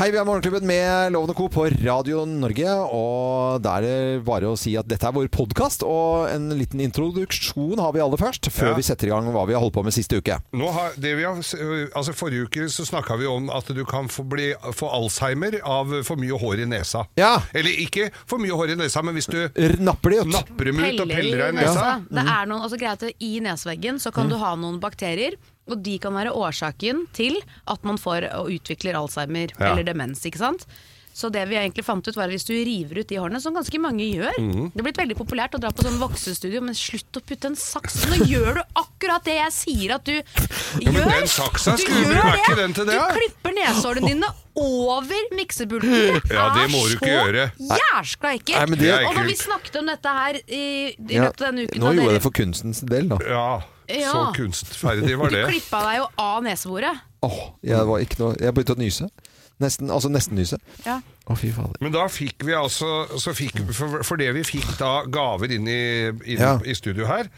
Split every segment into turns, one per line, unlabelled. Hei, vi er Morgenklubben med Lovende Co. på Radio Norge. Og da er det bare å si at dette er vår podkast, og en liten introduksjon har vi aller først. Før
Ja.
vi setter i gang hva vi har holdt på med siste uke.
Nå har, det vi har, altså forrige uke så snakka vi om at du kan få, bli, få alzheimer av for mye hår i nesa.
Ja.
Eller ikke for mye hår i nesa, men hvis du
R- Napper de ut.
napper dem ut og peller deg i
nesa.
nesa Mhm.
Det er noen, altså greit, at I nesveggen så kan du ha noen bakterier, og de kan være årsaken til at man får og utvikler alzheimer
Ja.
eller demens. ikke sant? Så det vi egentlig fant ut var at hvis du river ut de hårene, som ganske mange gjør
Mhm.
Det er blitt veldig populært å dra på sånn voksestudio, men slutt å putte en saks Nå gjør du akkurat det jeg sier at du gjør!
den saksa
Du
skulle du
gjør
merke den til det, ja.
Du klipper neshårene dine over miksebulten! Det
Ja, det
er
må du ikke gjøre.
så jæskla
Nei, men
ekkelt!
det-
Det er
Og når vi
ekkelt.
snakket om dette her i, i
Ja.
løpet av denne uken
Nå
da
gjorde
dere-
jeg det for kunstens del, da.
Ja, så
Ja.
kunstferdig var det.
Du klippa deg jo av neseboret.
Åh, jeg var ikke noe Jeg begynte å nyse. Nesten, altså nesten nyse.
Ja.
Å, fy fader.
Men da fikk vi altså så fikk, for, for det vi fikk da gaver inn i, inn
Ja. Mm.
i studio her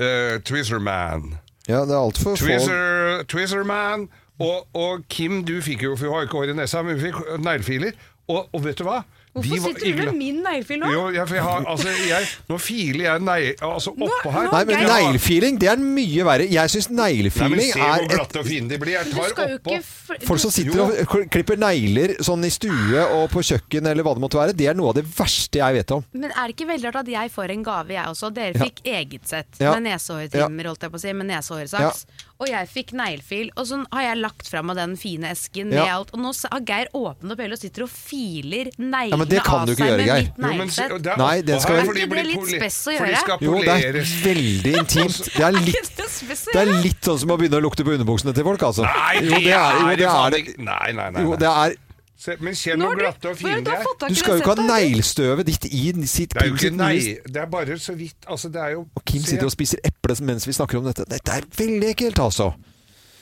eh, Twizzerman.
Ja, det er altfor få
Twizzer, Twizzerman. Og, og Kim, du fikk jo For hun har ikke hår i nesa, men hun fikk neglefiler. Og, og vet du hva? De var igla-
min neglefil
Jo, jeg, for jeg har, altså, jeg, nå filer jeg nei, altså, oppå her.
Nei, men
Geir-
neglefeeling, det er mye verre. Jeg syns
Nei, men
neglefiling
Se hvor
er et
glatte og fine de blir. Jeg
Du
tar
skal jo
oppå.
ikke fl-
Folk som sitter og kl- klipper negler sånn i stue og på kjøkken eller hva det måtte være, det er noe av det verste jeg vet om.
Men er det ikke veldig rart at jeg får en gave, jeg også? Dere
Ja.
fikk eget sett
Ja.
med nesehårtrimmer, holdt jeg på å si, med nesehårsaks. Og jeg fikk neglefil, og sånn har jeg lagt fram av den fine esken med
Ja.
alt. Og nå s- har Geir åpnet opp hele og sitter og filer
Ja, men
neglene
det kan
av
du ikke
seg
gjøre,
med
Geir.
mitt
Jo, men se-
neglesett.
det er
Nei,
oppå
det skal
her,
være-
for de
Det blir
blir
litt
poli-
spess å
For de
gjøre.
skal
Jo, det er
poleres.
veldig intimt.
Altså,
Det er
Er
litt,
ikke det spesielt?
det er litt sånn som å begynne å lukte på underbuksene til folk, altså.
Nei,
Jo, det er, jo, det er det.
faen ikke- Nei, nei, nei.
Jo,
nei.
det er
Se, men se
Nå
hvor
har du-
glatte og
Hvor har
fine
du
de er.
fått tak i
Du skal jo
det
ikke ha
settet?
neglestøvet ditt i sitt
Det er
Kim
jo ikke
sitt
nei,
nye-
det er bare så vidt altså, det er jo,
Og Kim
se-
sitter og spiser eple mens vi snakker om dette. Dette er veldig ekkelt, altså.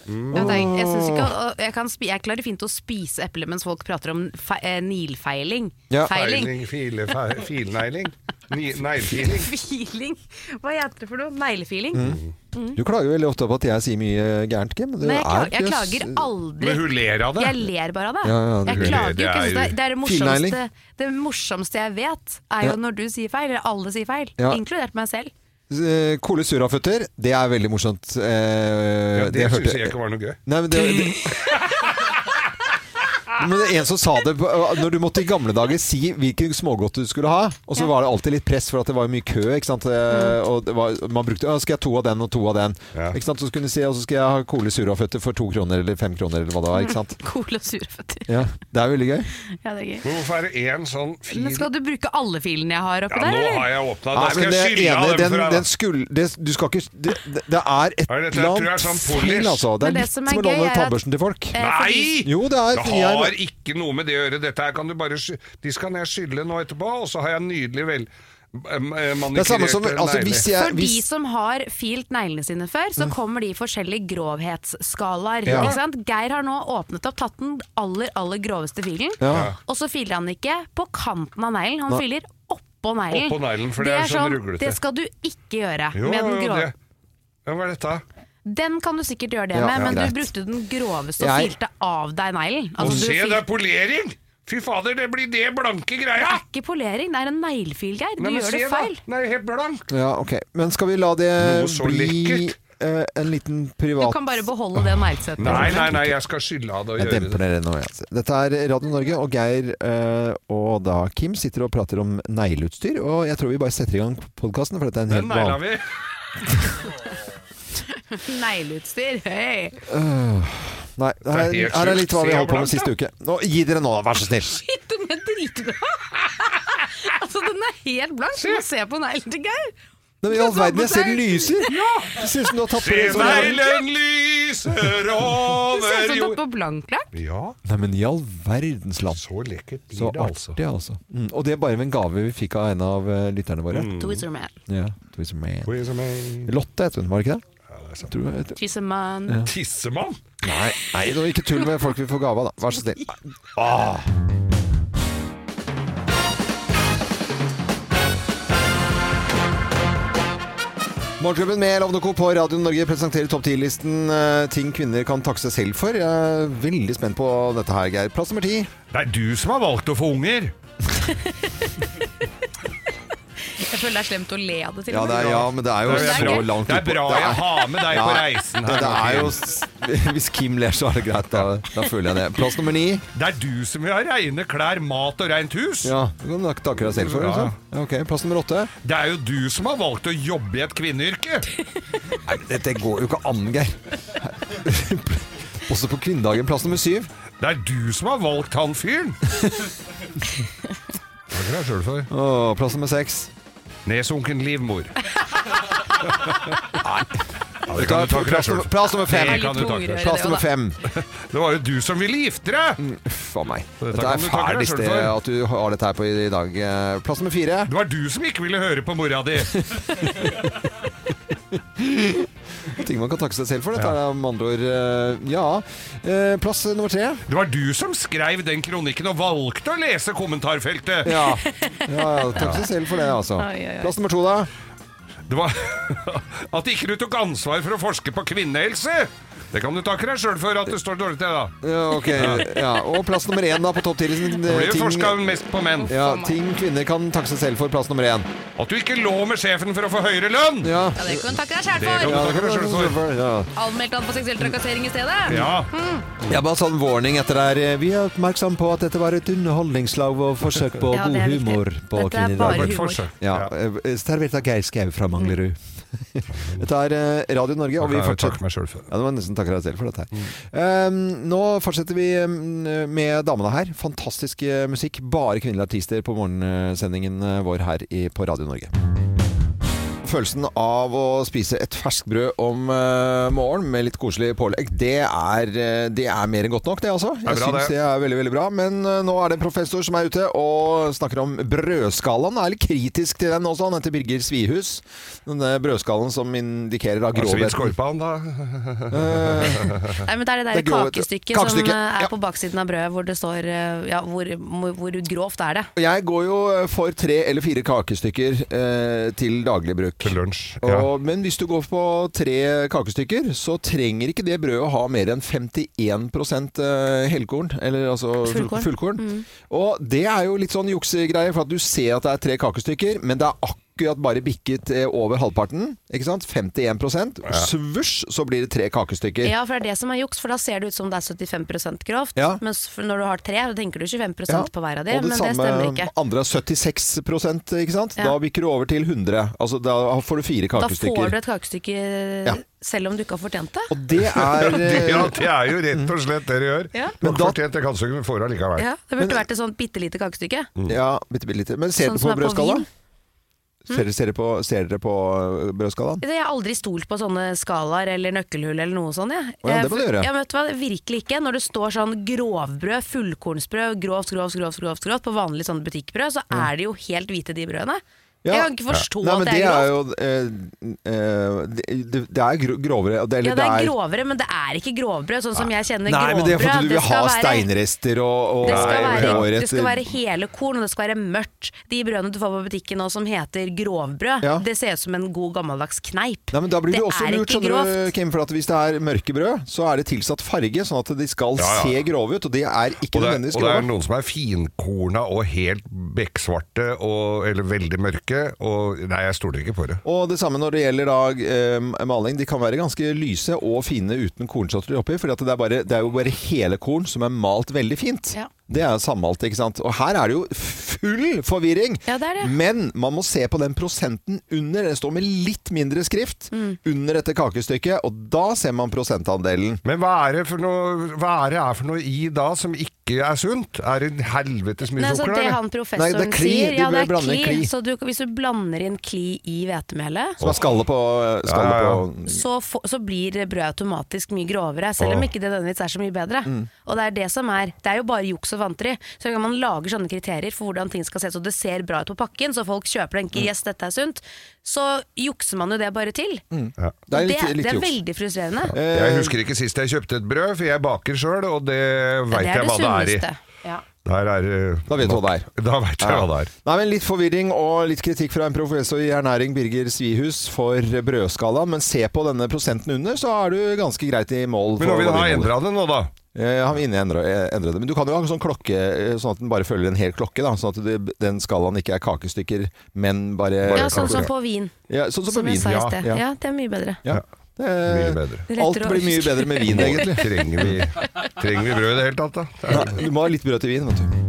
Ja, men det er- Jeg, synes ikke, å- jeg, kan spi, jeg klarer fint å spise epler mens folk prater om fe, eh, nilfeiling.
Ja.
Feiling.
Feiling, file, fe- filnegling. Ni- Neglefiling.
Filing? Hva heter det for noe? Neglefiling?
Mm. Du klager veldig ofte på at jeg sier mye gærent, Kim. Du
Nei, Mm. jeg, klager, jeg
er-
klager aldri.
Men hun ler av det.
Jeg ler bare av det.
Ja, ja, du
jeg
ler.
klager jo
Det
ikke.
er
Jeg synes Det
jo-
er, det, er det,
Filnegling.
morsomste, det morsomste jeg vet, er jo
Ja.
når du sier feil. Eller alle sier feil.
Ja.
Inkludert meg selv.
Eh, Kole suraføtter, det er veldig morsomt. Eh,
Ja, det
jeg
syns
hørte-
jeg ikke var noe gøy.
Nei, men det, det... Men det er en som sa det på- når du måtte i gamle dager si hvilken smågodt du skulle ha. Og så
Ja.
var det alltid litt press, for at det var jo mye kø. Ikke sant? Eh, Og det var, man brukte «Å, 'Skal jeg ha to av den og to av den?'
Mm. Ja.
Ikke sant? Så skulle du si 'Og så skal jeg ha Kole suraføtter for to kroner eller fem kroner', eller hva det var.
Mm.
Ikke sant?
Cool og sure føtter.
Ja, det er veldig gøy.
Ja, det er gøy.
Men hvorfor er det én sånn fil
Men skal du bruke alle filene jeg har oppi
Ja,
der,
nå
eller?
har jeg åpna. Da
Nei,
skal
men det
jeg
er
skylde av
enig,
dem
den,
for
den
deg.
skulle det, Du skal ikke Det, det- det er et
Nei, dette
eller
tror jeg er
annet
sånn
feil,
polish.
altså. Det er
Men det
litt som
som er
å
gøy
låne
er at-
tannbørsten til folk.
Eh,
da. Nei!
Jo, det er
Det har ikke noe med det å gjøre. Dette her kan du bare sky- De skal jeg skylle nå etterpå, og så har jeg nydelig vel eh,
Det er
manikurerte
samme som altså, hvis
negler.
jeg,
For de
hvis, Mm.
som har filt neglene sine før, så kommer de i forskjellige grovhetsskalaer.
Ja.
Ikke sant? Geir har nå åpnet opp, tatt den aller, aller groveste filen,
Ja.
og så filer han ikke på kanten av neglen, han filer oppå neglen.
Oppå neglen, for det er sånn ruglete.
Det skal du ikke gjøre
Jo,
med den
jo,
grove.
det- Ja, hva er dette?
Den kan du sikkert gjøre det
Ja,
med,
ja,
men
greit.
du brukte den groveste og
Jeg-
filte av deg neglen.
Å
Altså, du
se,
fil-
det er polering! Fy fader, det blir det blanke greia!
Det er ikke polering, det er en neglefil, Geir. Du
Nei, men se
gjør det
da,
feil.
Den er helt blank.
ja, ok. Men skal vi la det
Noe så
bli
lekkert.
eh, en liten
Du
privat
kan bare beholde det neglesettet.
Nei, nei, nei, jeg skal skylde av det og
Jeg
gjøre
demper
det.
det nå. Jeg. Dette er Radio Norge, og Geir eh, og da Kim sitter og prater om negleutstyr. Og jeg tror vi bare setter i gang podkasten, for dette er en helt
Den negla
vanlig
vi.
Negleutstyr, hei!
Nei, her,
Det er helt
her er litt hva
sjukt.
vi
Se
holdt på med
blankt,
siste uke. Nå, gi dere nå, da, vær så snill.
Shit, den er dritbra! altså, den er helt blank. Du må se på neglen til Geir.
Nei, men I all verden, jeg ser den lyser! Det ser ut som du har tatt på
Se,
deg en sånn
neglen lyser
Du ser ut
over
som du er
jord.
på blanklakk.
Ja,
Nei, men i all verdens land.
så lekkert blir
Så
det, altså.
artig, altså. Mm, og det er bare med en gave vi fikk av en av eh, lytterne våre.
Mm.
Twister man.
Ja, Twiz Man.
Hvor er det som er-
Lotte het hun, var det ikke det?
Ja, det er sant.
Tror du, jeg tror-
Twister man.
Tissemann?
nei, nei, nå ikke tull med folk vi får gave av, da. Vær så snill. Ah. Morgenklubben med Lovende Co. på Radio Norge presenterer topp 10-listen eh, ting kvinner kan takke seg selv for. Jeg er veldig spent på dette her, Geir. Plass nummer ti.
Det er du som har valgt å få unger!
Jeg føler det er slemt å le av det til
Ja,
og
det
med.
er, ja, men det er jo
Det er
så
bra.
langt
Det er
ut på-
bra
det
jeg
er-
har med deg på reisen her.
men det
Martin.
er jo s- Hvis Kim ler, så er det greit. Da, da føler jeg det. Plass nummer ni.
Det er du som vil ha reine klær, mat og rent hus!
Ja, du kan takke deg selv for det.
Ja.
altså. Ja, Ok, Plass nummer åtte.
Det er jo du som har valgt å jobbe i et kvinneyrke!
Nei, men dette går jo ikke an, Geir. Også på kvinnedagen. Plass nummer syv.
Det er du som har valgt han fyren! Hva er det sjøl for?
Åh, plass nummer seks.
Nedsunken livmor. Ja, det kan du takke deg
Plass
sjøl
nummer- plass nummer
Det
fem.
litt
kan du takke deg.
tungere.
Plass nummer fem.
Det var jo du som ville gifte deg!
Uff a meg.
Dette
Dette
kan
er
du takke
fæl
deg
liste
selv for.
at du har dette her på i dag. Eh, Plass nummer fire.
Det var du som ikke ville høre på mora di!
Ting man kan takke seg selv for. Dette er med andre ord eh, Ja. Eh, Plass nummer tre.
Det var du som skrev den kronikken og valgte å lese kommentarfeltet!
Ja. ja takk seg selv for det, altså.
Oi, oi, oi.
Plass nummer to, da.
Det var At ikke du tok ansvar for å forske på kvinnehelse! Det kan du takke deg sjøl for at det står dårlig til, da.
Ja, ok. Ja. Og plass nummer én da på topp ti. Liksom,
Det blir jo
ting-
forska mest på menn.
ja, ting kvinner kan takke seg selv for. Plass nummer én.
At du ikke lå med sjefen for å få høyere lønn!
Ja.
Ja, det kan du takke deg selv
Det kan
for!
du-
Ja, det kan du takke deg selv for, ja.
Anmeldt han for seksuell trakassering i stedet.
Ja.
Jeg bare sånn warning etter det her. Vi er oppmerksom på at dette var et underholdningslag og forsøk på
Ja, det
god
er viktig.
humor på
Dette
kvinnedagen.
er
Det var et
humor.
forsøk.
Ja, eh, Servert av Geir Skau fra Manglerud. dette er eh, Radio Norge, og vi
Jeg vil takke
fortsetter
meg selv for det.
ja, det var nesten takker deg selv for dette her. Eh, nå fortsetter vi eh, med damene her. Fantastisk eh, musikk. Bare kvinnelige artister på morgensendingen eh, vår her i, på Radio Norge. Følelsen av å spise et ferskbrød om eh, morgenen med litt koselig pålegg, det er, eh, det er mer enn godt nok, det altså.
er
Jeg
bra,
syns
det.
det er veldig, veldig bra. Men eh, nå er det en professor som er ute og snakker om brødskalaen. Er litt kritisk til den også. Han heter Birger Svihus. Denne brødskalaen som indikerer av
Altså,
grovheten.
vi
Eh,
skorpa han, da.
Nei, men det er det der
Det er grov-
kakestykket
kakestykke,
som eh, er
ja.
på baksiden av brødet, hvor det står eh, ja, hvor, hvor- hvor grovt er det?
Og Jeg går jo eh, for tre eller fire kakestykker eh, til daglig bruk.
Til lunsj. Ja.
Og, men hvis du går på tre kakestykker, så trenger ikke det brødet å ha mer enn 51 eh, helkorn. Eller altså full-
Fullkorn.
fullkorn. Og det er jo litt sånn juksegreie, for at du ser at det er tre kakestykker, men det er akkurat bare bikket eh, over halvparten. Ikke sant? 51 og Svusj, så blir det tre kakestykker.
Ja, for det er det som er juks, for da ser det ut som det er 75 grovt.
Ja.
Mens for når du har tre, da tenker du 25
Ja,
på hver av de,
og det
men det
samme
stemmer ikke.
andre er 76 ikke sant?
Ja.
Da bikker du over til 100. Altså, da får du fire
Da får
kakestykker.
du et kakestykke
Ja.
selv om du ikke har fortjent det.
Og det er
Det, ja,
eh,
det er jo rett og slett det dere gjør.
Ja.
Men
Men da-
fortjent, det kan du ikke få allikevel.
Ja, det burde vært et sånt bitte lite kakestykke.
eh, Ja, bitte, bitte lite. Men ser
Sånn
dere
som
på
er på
brødskala?
vin. Hm?
Ser, ser, dere på, ser dere på eh, brødskalaen?
Jeg har aldri stolt på sånne skalaer eller nøkkelhull eller noe sånt. Jeg.
Å ja, det må du gjøre.
Jeg, vet du hva, virkelig ikke. Når det står sånn grovbrød, fullkornsbrød, grovt, grovt, grovt, grovt, grovt på vanlig sånn butikkbrød, så er det jo helt hvite de brødene.
Mm. Ja.
Jeg kan ikke forstå
Nei,
at
men
det er grovt.
jo eh, eh, det, det er gro- grovere og det- eller
ja, det er
det er-
grovere, men det er ikke grovbrød, sånn som jeg
Nei,
kjenner
men
grovbrød.
det er fordi du vil ha
skal være-
steinrester og, eh, og
Det skal,
og
være,
hårretter.
det skal være hele korn, og det skal være mørkt. De brødene du får på butikken nå som heter grovbrød,
Ja.
det ser ut som en god gammeldags kneip.
Nei, men Da blir
det
du også
er
lurt,
ikke
skjønner du,
grovt.
Kim. For at hvis det er mørkebrød, så er det tilsatt farge, sånn at de skal
Ja, ja.
se grove ut. Og de er ikke
Og det,
nødvendigvis
og det er
grove.
noen som er finkorna og helt bekksvarte og, eller veldig mørke. Og, nei, jeg stoler ikke på det.
Og det samme når det gjelder da, eh, maling. De kan være ganske lyse og fine uten kornsorter oppi. For det, er bare- det er jo bare hele korn som er malt veldig fint.
Ja.
Det er sammalt, ikke sant. Og her er det jo full forvirring.
Ja, det er det.
Men man må se på den prosenten under. Det står med litt mindre skrift
Mm.
under dette kakestykket, og da ser man prosentandelen.
Men hva er det, for noe, hva er det er for noe i da som ikke er sunt? Er det helvetes mye
Nei, så
sukker
det
der?
han
Nei,
professoren
det er kli.
sier, ja,
Du
det er
blander
kli.
kli.
Så du, hvis du blander inn kli i hvetemelet,
Som er skalle på, skalle
Ja, ja, ja.
på
så, få- så blir brødet automatisk mye grovere, selv om
Åh.
ikke det nødvendigvis er så mye bedre.
Mm.
Og det er det som er Det er jo bare juks og fanteri. Så når man lager sånne kriterier for hvordan ting skal se ut, og det ser bra ut på pakken, så folk kjøper
Mm.
den, ikke yes, dette er sunt, så jukser man jo det bare til.
Mm.
Ja.
Det er
Det,
litt,
er-
litt
det er
juks. Eh,
veldig frustrerende.
Jeg husker ikke sist jeg kjøpte et brød, for jeg baker sjøl, og det veit
det er
jeg
det
hva det er i.
sunneste. Ja.
Der er eh,
Da vet du hva det er.
Da vet jeg hva det er.
Nei, men Litt forvirring og litt kritikk fra en professor i ernæring, Birger Svihus, for brødskala. Men se på denne prosenten under, så er du ganske greit i mål.
Men
for
når
hva
vi
det
da har
inneholder.
endra det nå, da
Eh, Han vil inne endre, eh, endre det. Men du kan jo ha en sånn klokke, eh, sånn at den bare følger en hel klokke. Da, sånn at det, den skalaen ikke er kakestykker, men bare
Ja, sånn som på vin,
ja, sånn som på
som jeg
vin.
sa i
Ja,
sted.
ja,
Ja, det er mye bedre.
ja.
Mye
Eh,
bedre.
Alt
Lettere å
blir mye
huske.
bedre med vin, egentlig.
Trenger vi, trenger vi brød i det hele tatt, da?
Nei, du må ha litt brød til vin, vet du.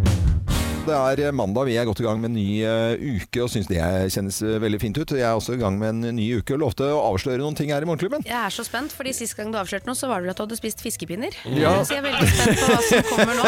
Det er eh, mandag, vi er godt i gang med en ny eh, uke og syns det kjennes eh, veldig fint ut. Jeg er også i gang med en ny uke og lovte å avsløre noen ting her i Morgenklubben.
Jeg er så spent, fordi Sist gang du avslørte noe, så var det vel at du hadde spist fiskepinner.
Ja.
Så jeg er veldig spent på hva som kommer nå.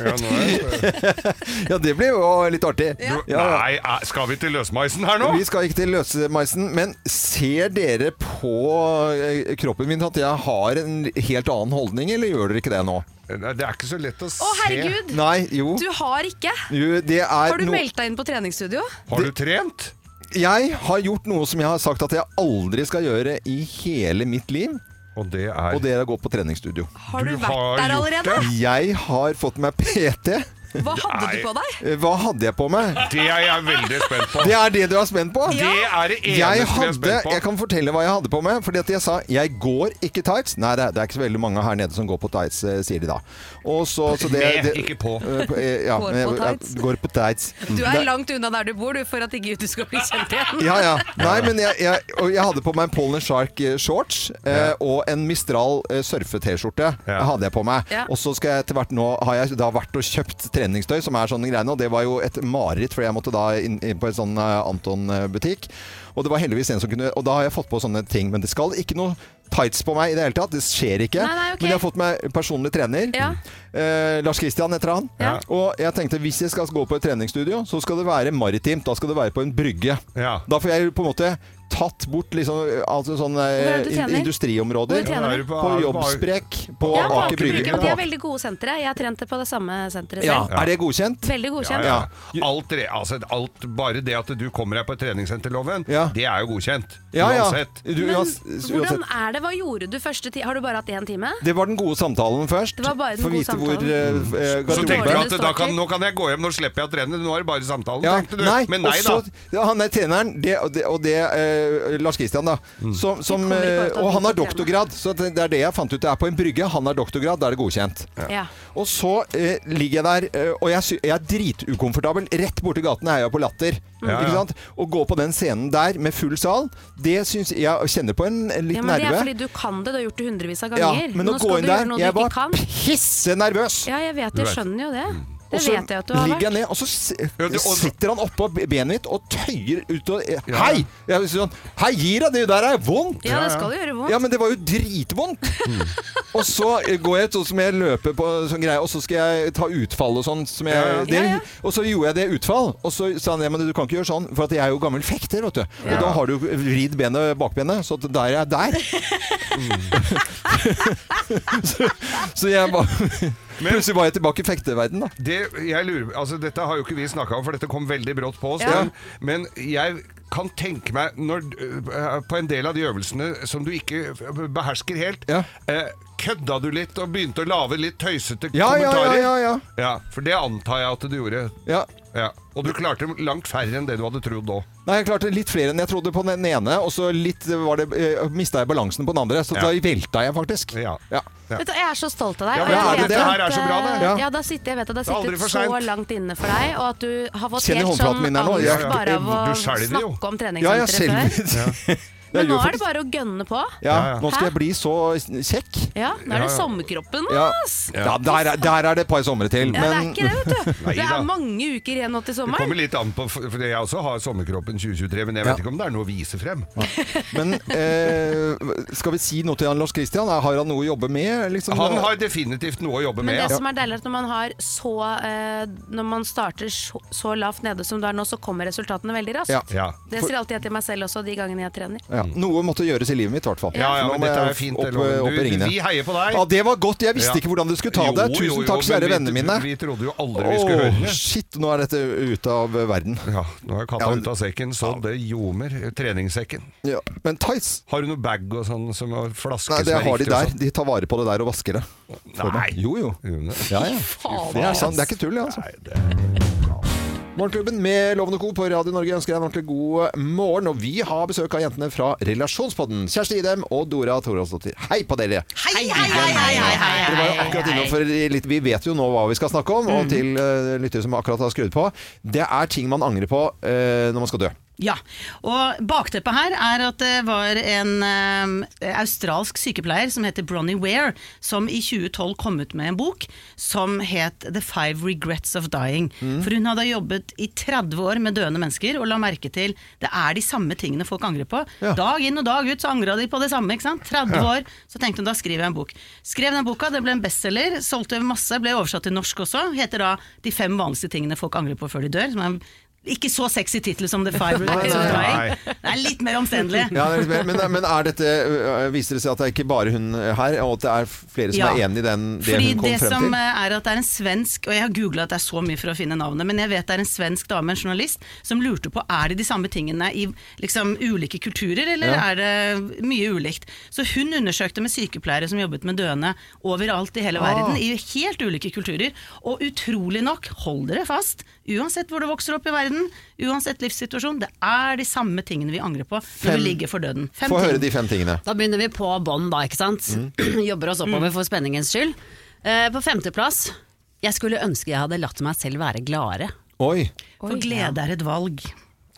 Ja, nå er det.
Ja, det blir jo litt artig. Ja.
Nei, eh, skal vi til løsmeisen her nå?
Vi skal ikke til løsmeisen, men ser dere på eh, kroppen min at jeg har en helt annen holdning, eller gjør dere ikke det nå?
Nei, Det er ikke så lett å se.
Å, herregud!
Nei, jo.
Du har ikke!
Jo, det er
Har du
no-
meldt deg inn på treningsstudio?
Har du trent?
Jeg har gjort noe som jeg har sagt at jeg aldri skal gjøre i hele mitt liv,
Og det er
og det er å gå på treningsstudio.
Har
Du
du,
har
vært der
gjort
allerede?
Jeg har fått meg PT.
Hva hadde du
Nei.
på deg?
Hva hadde jeg på meg?
Det er jeg veldig spent på.
Det er det du er spent på?
Ja.
Det er det eneste
Jeg,
jeg er
hadde,
spent på.
jeg kan fortelle hva jeg hadde på meg. Fordi at jeg sa 'jeg går ikke tights'. Nei, det er, det er ikke så veldig mange her nede som går på tights, eh, sier de da. Og så, så det,
Med,
det,
ikke på.
Eh, på- eh, ja,
Går på
men jeg- jeg
tights.
Går på tights.
Du
Det-
er langt unna der du bor, du, for at ikke du skal bli kjent igjen.
Ja, ja. Nei, men jeg, jeg, og jeg hadde på meg en Pollen Shark eh, shorts eh, og en Mistral eh, surfe-T-skjorte.
Ja.
hadde jeg på meg.
Ja.
Og så skal jeg etter hvert nå har jeg da vært og kjøpt treningstøy, som er sånne greiene. Og det var jo et mareritt, for jeg måtte da inn, inn på en sånn eh, Anton-butikk. Og det var heldigvis en som kunne Og da har jeg fått på sånne ting. Men det skal ikke noe tights på meg i det hele tatt. Det skjer ikke.
Nei, nei, ok.
Men jeg har fått meg personlig trener.
Ja.
Eh, Lars Kristian heter han.
Ja.
Og jeg tenkte hvis jeg skal gå på et treningsstudio, så skal det være maritimt. Da skal det være på en brygge.
Ja.
Da får jeg på en måte tatt bort liksom, altså sånne eh,
Hvor er det du
in-
trener? Hvor
industriområder.
trener
Da er du
På
er du
Jobbsprek, på
Ja, på
Aker
Aker Brygge,
Brygge.
men de er veldig gode sentre. Jeg trente på det samme senteret
Ja.
selv.
Er det godkjent?
Veldig
Ja,
godkjent.
ja. Alt, re- altså, alt, bare det at du kommer deg på treningssenterloven,
Ja.
det er jo godkjent.
Ja, ja.
Uansett.
Du,
Men
uans- uansett.
hvordan er det? Hva gjorde du første time? Har du bare hatt én time?
Det var den gode samtalen først.
Det var bare den
Få
gode
vite hvor
samtalen.
eh, eh,
Så tenker du
garderobe-
at da kan, nå kan jeg gå hjem, nå slipper jeg å trene. Nå er det bare samtalen,
Ja,
tenkte du.
Nei,
Men nei
og så,
da.
ja, han er treneren, det, og det, og det eh, Lars Kristian, da.
Mm.
Som, som,
Det kommer ikke
eh,
ut av
og han har
hodet på
doktorgrad, så det det er det jeg fant ut. Det er på en brygge, han har doktorgrad, da er det godkjent.
Ja.
Og så eh, ligger jeg der, eh, og jeg, sy jeg er dritukomfortabel. Rett borti gaten er jeg på Latter.
Ja,
Ikke
ja.
sant? Å gå på den scenen der med full sal, det syns jeg kjenner på en litt
Ja, men det er
nerve.
fordi du kan det. Du har gjort det hundrevis av
ja,
ganger.
men å
Nå
gå
skal
inn
du gjøre
der
noe du
Jeg
ikke
var
kan.
pissenervøs!
Ja, jeg vet,
vet.
jeg skjønner jo det.
Og
Det
så
vet jeg at du har
ligger jeg
vært.
ned, og så s-
Ja, det- og-
sitter han oppå benet mitt og tøyer ut og eh,
Ja.
Hei! Jeg sier sånn Hei, gi deg! Det der er vondt!
Ja, det skal jo gjøre vondt.
Ja, men det var jo dritvondt! og så eh, går jeg ut, og så må jeg løpe på sånn greie, og så skal jeg ta utfall og sånn. Som jeg,
Ja, ja.
det,
Ja, ja.
Og så gjorde jeg det utfall, og så sa han ja, men du kan ikke gjøre sånn, for at jeg er jo gammel fekter, vet du. Og
Ja.
da har du vridd benet bakbenet, så at der er jeg der. så, så jeg bare Plutselig var jeg tilbake i fekteverden da.
Det, jeg lurer, altså, dette har jo ikke vi snakka om, for dette kom veldig brått på oss.
Ja.
Men, men jeg kan tenke meg når, øh, På en del av de øvelsene som du ikke øh, behersker helt,
Ja.
eh, kødda du litt og begynte å lage litt tøysete
Ja, ja,
kommentarer?
ja, ja,
Ja, For det antar jeg at du gjorde.
Ja.
Ja. Og du klarte langt færre enn det du hadde trodd òg.
Nei, jeg klarte litt flere enn jeg trodde på den ene, og så litt var det, eh, mista jeg balansen på den andre. Så
Ja.
da velta jeg faktisk.
Ja.
Ja.
Ja.
Vet du, jeg er så stolt av deg.
Ja,
og jeg
ja,
vet
dette
at,
her
er så bra, det.
eh,
Ja.
Ja, det har sittet, jeg vet at det
Det er aldri
har
for
sittet så
sent.
langt inne for deg, og at du har fått
Kjenner
helt
håndflaten
sånn
min her nå. Jeg-
angst bare av å
Du skjelver jo.
snakke om
Ja, jeg
treningssenteret før.
skjelver. Ja.
Men nå er det bare å gønne på.
ja,
Ja, ja.
Nå skal jeg
Hæ?
bli så kjekk.
Ja, nå
Ja,
er
ja.
det sommerkroppen,
Ja,
ass!
ja der, er- der er det et par somre til.
Ja, det er
Men
ikke det, vet du.
Nei
Det
da.
er mange uker igjen nå
Det
til sommeren.
kommer litt an på, for jeg også har sommerkroppen 2023, men jeg
Ja.
vet ikke om det er noe å vise frem.
men eh, skal vi si noe til han Lars Christian? Har han noe å jobbe med? Liksom?
Han har definitivt noe å jobbe
Men
med.
det
ja.
som er deilig, er at når man har så eh, Når man starter så, så lavt nede som du er nå, så kommer resultatene veldig raskt.
Ja.
Ja.
Det sier alltid jeg til meg selv også, de gangene jeg trener.
ja. Noe måtte gjøres i livet mitt, i hvert fall.
Ja, ja,
Nå
men
må
dette er
jeg
jo fint,
opp,
det loven.
opp
Du-
i ringene.
vi heier på deg.
Ja, det var godt. Jeg visste
Ja.
ikke hvordan du skulle ta
Jo,
det.
jo,
Tusen
jo,
takk,
men
kjære
vi-
vennene mine.
Vi trodde jo aldri vi skulle høre
Åh,
det.
shit, nå er dette ute av verden.
Ja, nå er katta
Ja, men-
ute av sekken, så det ljomer. Treningssekken.
Ja. Men tights
Har du noe bag og sånn som har flaske
Nei, det
som er
har de
riktig og
der.
sånn?
De tar vare på det der og vasker det. for meg.
Nei.
Jo, jo.
Gjør det?
Ja, ja.
Faen,
Det er sant. Det er ikke tull, det, altså.
Nei, det
Morgenklubben med Lovende Co. på Radio Norge ønsker deg en ordentlig god morgen. Og vi har besøk av jentene fra Relasjonspodden. Kjersti Idem og Dora Thoralsdottir. Hei på dere!
Hei, hei, hei, hei, hei, hei,
Dere var jo akkurat innenfor litt Vi vet jo nå hva vi skal snakke om, og til eh, lyttere som akkurat har skrudd på. Det er ting man angrer på eh, når man skal dø.
Ja, og bakteppet her er at det var en eh, australsk sykepleier som heter Bronnie Ware, som i 2012 kom ut med en bok som het The Five Regrets of Dying. For hun hadde jobbet i 30 år med døende mennesker, og la merke til det er de samme tingene folk angrer på.
Ja.
Dag inn og dag ut så angra de på det samme, ikke sant. 30 år, så tenkte hun da skriver jeg en bok. Skrev den boka, det ble en bestselger, solgte masse, ble oversatt til norsk også. Heter da De fem vanligste tingene folk angrer på før de dør. som er en ikke så sexy tittel som The Five Regrets of Dying. Det er litt mer omstendelig.
Ja, det er litt mer- men, men er dette, øh, viser det seg at det er ikke bare hun her, og at det er flere som
Ja.
er enig i den, det
Fordi
hun kom
det
frem
som
til?
eh, er at det er en svensk, og jeg har googla at det er så mye for å finne navnet, men jeg vet det er en svensk dame, en journalist, som lurte på er det de samme tingene i liksom ulike kulturer, eller
Ja.
er det mye ulikt. Så hun undersøkte med sykepleiere som jobbet med døende overalt i hele
Ah.
verden, i helt ulike kulturer, og utrolig nok, hold dere fast, uansett hvor du vokser opp i verden, uansett livssituasjon, det er de samme tingene vi angrer på når
Fem-
vi ligger for døden. Fem
Få
ting.
høre de fem tingene.
Da begynner vi på bånn, da, ikke sant?
Mm.
Jobber oss oppover
Mm.
for spenningens skyld. Eh, på femteplass Jeg skulle ønske jeg hadde latt meg selv være gladere.
Oi.
For glede er et valg.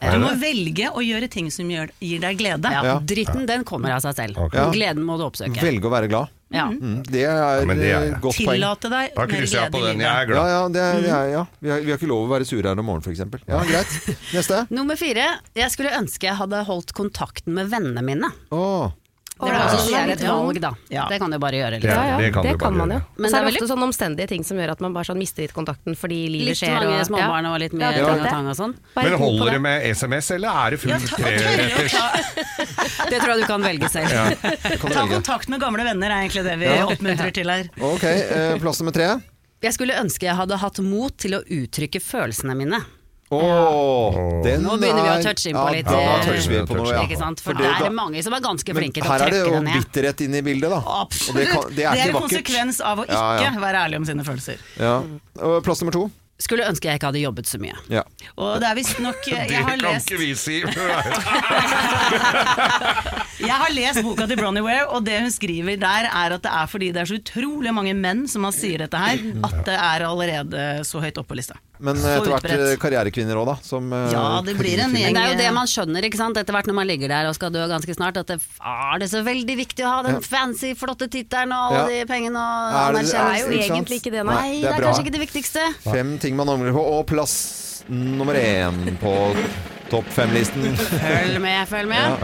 Er
Du må velge å gjøre ting som gjør, gir deg glede.
Ja,
Ja.
Dritten den kommer av seg selv.
Ok.
Ja.
Gleden må du oppsøke.
Velge å være glad.
Ja.
Mm, Det er
men det er
et
jeg.
godt poeng.
Tillate deg
Da
mer
krysser jeg på
glede i
den. Jeg er
livet.
Ja,
glad.
ja, det er, det er, ja. Vi, har, vi har ikke lov å være sure her om morgenen, f.eks. Mm. Ja, greit. Neste.
Nummer fire Jeg skulle ønske jeg hadde holdt kontakten med vennene mine.
Åh.
Det er, også, det er et valg, da.
Ja.
Det kan du bare gjøre.
Det,
Liksom.
Ja, ja, det kan,
du bare
man jo.
gjøre.
Men så
det
er
er
det ofte sånne omstendige ting som gjør at man bare sånn mister litt kontakten fordi livet
Litt
skjer.
mange
og-
småbarn og litt mye
Ja,
tang
det.
og tang og sånn.
Bare
Men
tro på
holder det
det.
med SMS, eller er det
Ja,
full
ta,
tre
tørre å ta,
Det tror jeg du kan velge selv.
Kan du
ta
velge.
kontakt med gamle venner er egentlig det vi
Ja.
oppmuntrer til her.
Ok, eh, plass nummer tre.
Jeg skulle ønske jeg hadde hatt mot til å uttrykke følelsene mine.
Åh, den
Nå begynner vi å
er-
touche inn på litt,
Ja, da
eh,
toucher vi på noe, ja.
Ikke sant? For,
For det-
da er
da-
det mange som er ganske
Men
flinke til å
her er det
trekke
jo
det ned.
bitterhet inne i bildet, da. Og
Absolutt.
Det, kan, det er ikke
en
vakkert.
konsekvens av å ikke
Ja, ja.
være ærlig om sine følelser.
Ja. Og Plass nummer to.
Skulle ønske jeg ikke hadde jobbet så mye.
Ja.
Og det er visstnok
Det
jeg, har
kan
lest-
ikke vi si.
jeg har lest boka til Bronnie Ware, og det hun skriver der, er at det er fordi det er så utrolig mange menn som man sier dette her, at det er allerede så høyt oppe på lista.
Men eh,
Så
etter hvert eh,
utbredt.
karrierekvinner òg, da. Som, eh,
Ja, det blir en
kriger.
gjeng.
Men det er jo det man skjønner ikke sant? etter hvert når man ligger der og skal dø ganske snart, at det er det så veldig viktig å ha den fancy, flotte tittelen og alle
Ja.
de pengene og
Er det-
anerkjennelsen.
er jo Ikke sant? egentlig ikke det, nei.
Nei,
Det er
det er
bra.
kanskje ikke det viktigste.
Fem ting man angrer på, og plass nummer én på topp fem-listen.
Følg med, følg med.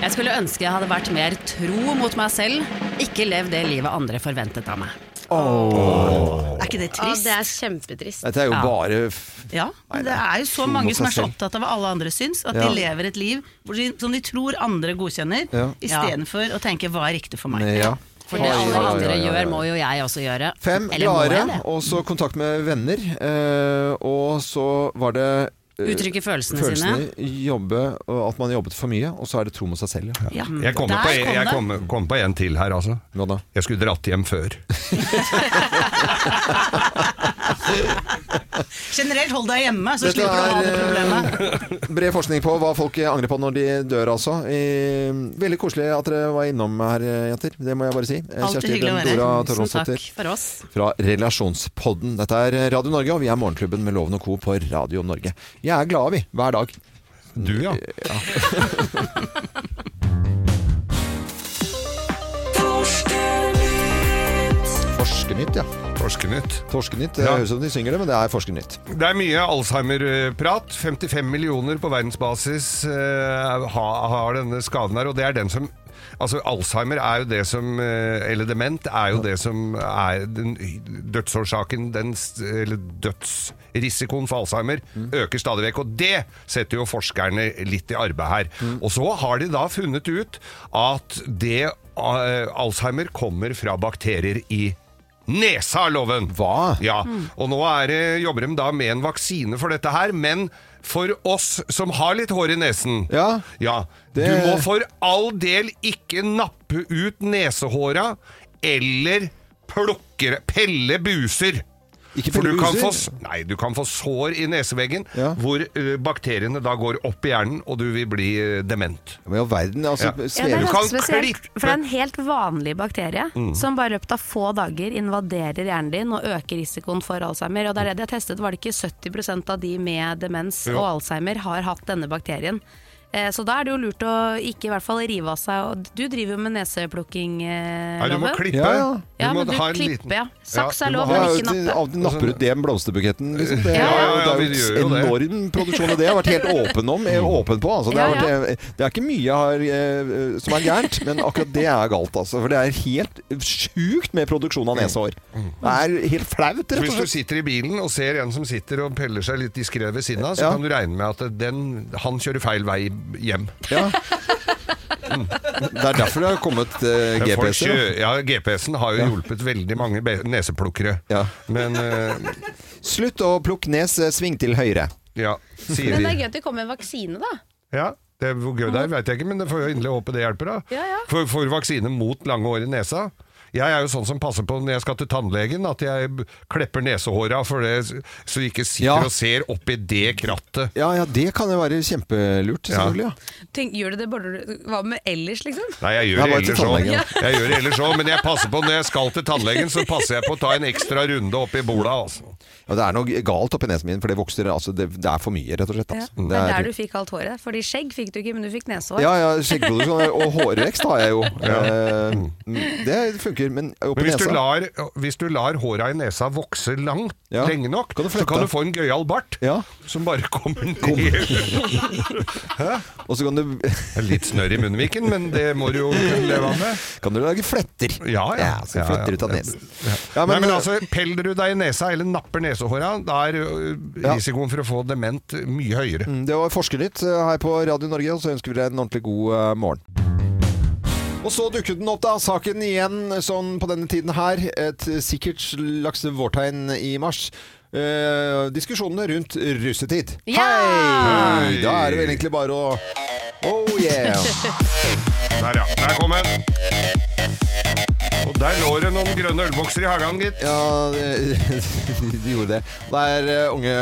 Jeg skulle ønske jeg hadde vært mer tro mot meg selv, ikke levd det livet andre forventet av meg.
Er ikke det
Ja,
trist?
det er kjempetrist.
Dette er jo bare f-
Ja, men det er jo så
tro
mange
mot
som
seg
er så
selv.
opptatt av hva alle andre syns, at
Ja.
de lever et liv hvor de, som de tror andre godkjenner,
Ja.
istedenfor å tenke 'hva er riktig for meg'.
Ja.
For det
Oi,
alle
oi, oi,
andre
oi, oi.
gjør, må jo jeg også gjøre.
Fem
Eller må jeg
klare,
det?
og så kontakt med venner. eh, Og så var det eh,
Uttrykke følelsene, sine.
følelsene, jobbe, og at man jobbet for mye. Og så er det tro mot seg selv. Ja.
Ja.
Jeg kommer
Der
på, en- jeg
det.
kommer- kommer på en til her, altså.
Hva da?
Jeg skulle dratt hjem før.
Generelt, hold deg hjemme, så
Dette
slipper du å ha det
er, eh,
problemet.
Bred forskning på hva folk angrer på når de dør, altså. Eh, Veldig koselig at dere var innom her, eh, jenter. Det må jeg bare si. Eh,
Alltid
Kjersti
hyggelig å
Brem,
være her.
Dora
Tusen
Torvansdottir
takk for oss.
fra Relasjonspodden. Dette er Radio Norge, og vi er Morgenklubben med Loven og Co. på Radio Norge. Jeg er glad, vi. Hver dag.
Du, ja.
Torskenytt, ja.
Torskenytt.
Torskenytt. Det
Ja.
eh, høres ut som de synger det, men det er Forskenytt.
Det er mye Alzheimer-prat. 55 millioner på verdensbasis eh, ha- har denne skaden her, og det er den som Altså, Alzheimer er jo det som eh, Eller dement er jo det som er den dødsårsaken den, s- Eller dødsrisikoen for Alzheimer øker stadig vekk. Og det setter jo forskerne litt i arbeid her. Og så har de da funnet ut at det eh, Alzheimer kommer fra bakterier i Nesa er loven!
Hva? Hmm.
Ja, og nå er, det- jobber de da med en vaksine for dette her, men for oss som har litt hår i nesen
Ja.
ja,
Det-
Du må for all del ikke nappe ut nesehåra eller plukke, pelle buser.
Ikke
For
pelle
du kan,
buser?
få, s- nei, du kan få sår i neseveggen,
Ja.
hvor ø, bakteriene da går opp i hjernen, og du vil bli ø, dement.
Men i all verden, altså
Ja.
svever-
Du
ganske
kan
spesielt,
klippe-
for det er en helt vanlig bakterie
Mm.
som bare i løpet av få dager invaderer hjernen din og øker risikoen for alzheimer. Og det er det de har testet, var det ikke 70 av de med demens
Jo.
og alzheimer har hatt denne bakterien. Eh, Så da er det jo lurt å ikke i hvert fall rive av seg. og Du driver jo med neseplukking, eh,
Nei, du må
Loven.
klippe.
Ja, ja.
Ja,
må
men du
ha en
klipper,
liten-
ja. Saks er
du må
lov,
ha-
men
Ja,
ikke nappe.
det- sånn av- Napper ut den blomsterbuketten, liksom. Det,
Ja, ja,
det
ja, vi
er
gjør
jo
jo
en
det.
enorm produksjon, og det har jeg vært helt åpen om. eh, Åpen på, altså. Det, har
Ja, ja.
vært, eh, det er ikke mye jeg har, eh, som er gærent, men akkurat det er galt, altså. For det er helt sjukt med produksjon av nesehår. Det er helt flaut, rett og
Hvis du
slett.
sitter i bilen og ser en som sitter og peller seg litt diskré ved siden av, så
Ja.
kan du regne med at den, han kjører feil vei hjem.
Ja. Det er derfor det har kommet eh,
Men folk
GPS-er. da.
kjø- Ja, GPS-en har jo hjulpet veldig mange be- neseplukkere.
Ja.
Men eh,
Slutt å plukke nes, eh, sving til høyre.
ja, sier de.
Men det er gøy at det kommer en vaksine, da.
Ja, det er Hvor gøy det er, vet jeg ikke, men det får jeg inderlig håpe det hjelper. da.
Ja, ja.
For, for vaksine mot lange hår i nesa. Jeg er jo sånn som passer på når jeg skal til tannlegen, at jeg b- klepper nesehåra, for det, så du ikke sitter
Ja.
og ser oppi det krattet.
Ja, ja, det kan jo være kjempelurt,
Ja.
selvfølgelig. Ja.
Tenk, gjør du det bare når du- Hva med ellers, liksom?
Nei, jeg
Ja,
gjør det
bare til
ellers òg.
tannlegen, da.
Jeg gjør det ellers òg, men jeg passer på når jeg skal til tannlegen, så passer jeg på å ta en ekstra runde oppi bola. Altså.
Ja, det er noe galt oppi nesen min, for det vokser altså, det, det er for mye, rett og slett.
Ja.
Altså.
Det er der du fikk alt håret. Fordi skjegg fikk du ikke, men du fikk nesehår.
Ja, ja, skjeggproduksjon og hårvekst har jeg jo. Eh, mm, det funker, men oppi
Men hvis du
nesa
lar, hvis du lar håra i nesa vokse langt
Ja.
lenge nok,
Kan du
så
flette?
kan du få en gøyal bart
Ja.
som bare kommer ned.
Og så kan du,
Det er Litt snørr i munnviken, men det må du jo kunne leve av med.
kan du lage fletter.
Ja, ja.
så
Ja, ja.
fletter ut av nesen. Ja, eh,
Nei, men altså, Peller du deg i nesa eller napper nesehåra, da er ø,
Ja.
risikoen for å få dement mye høyere.
mm, Det var Forskernytt eh, her på Radio Norge, og så ønsker vi deg en ordentlig god eh, morgen. Og så dukket den opp, da. Saken igjen sånn på denne tiden her. Et sikkert slags vårtegn i mars. Eh, diskusjonene rundt russetid.
Ja!
Hei! Da er det vel egentlig bare å Oh yeah!
Der, ja. Der kom den. Og der lå det noen grønne ølbokser i hagen, gitt.
Ja, de, de gjorde det. Det er eh, unge,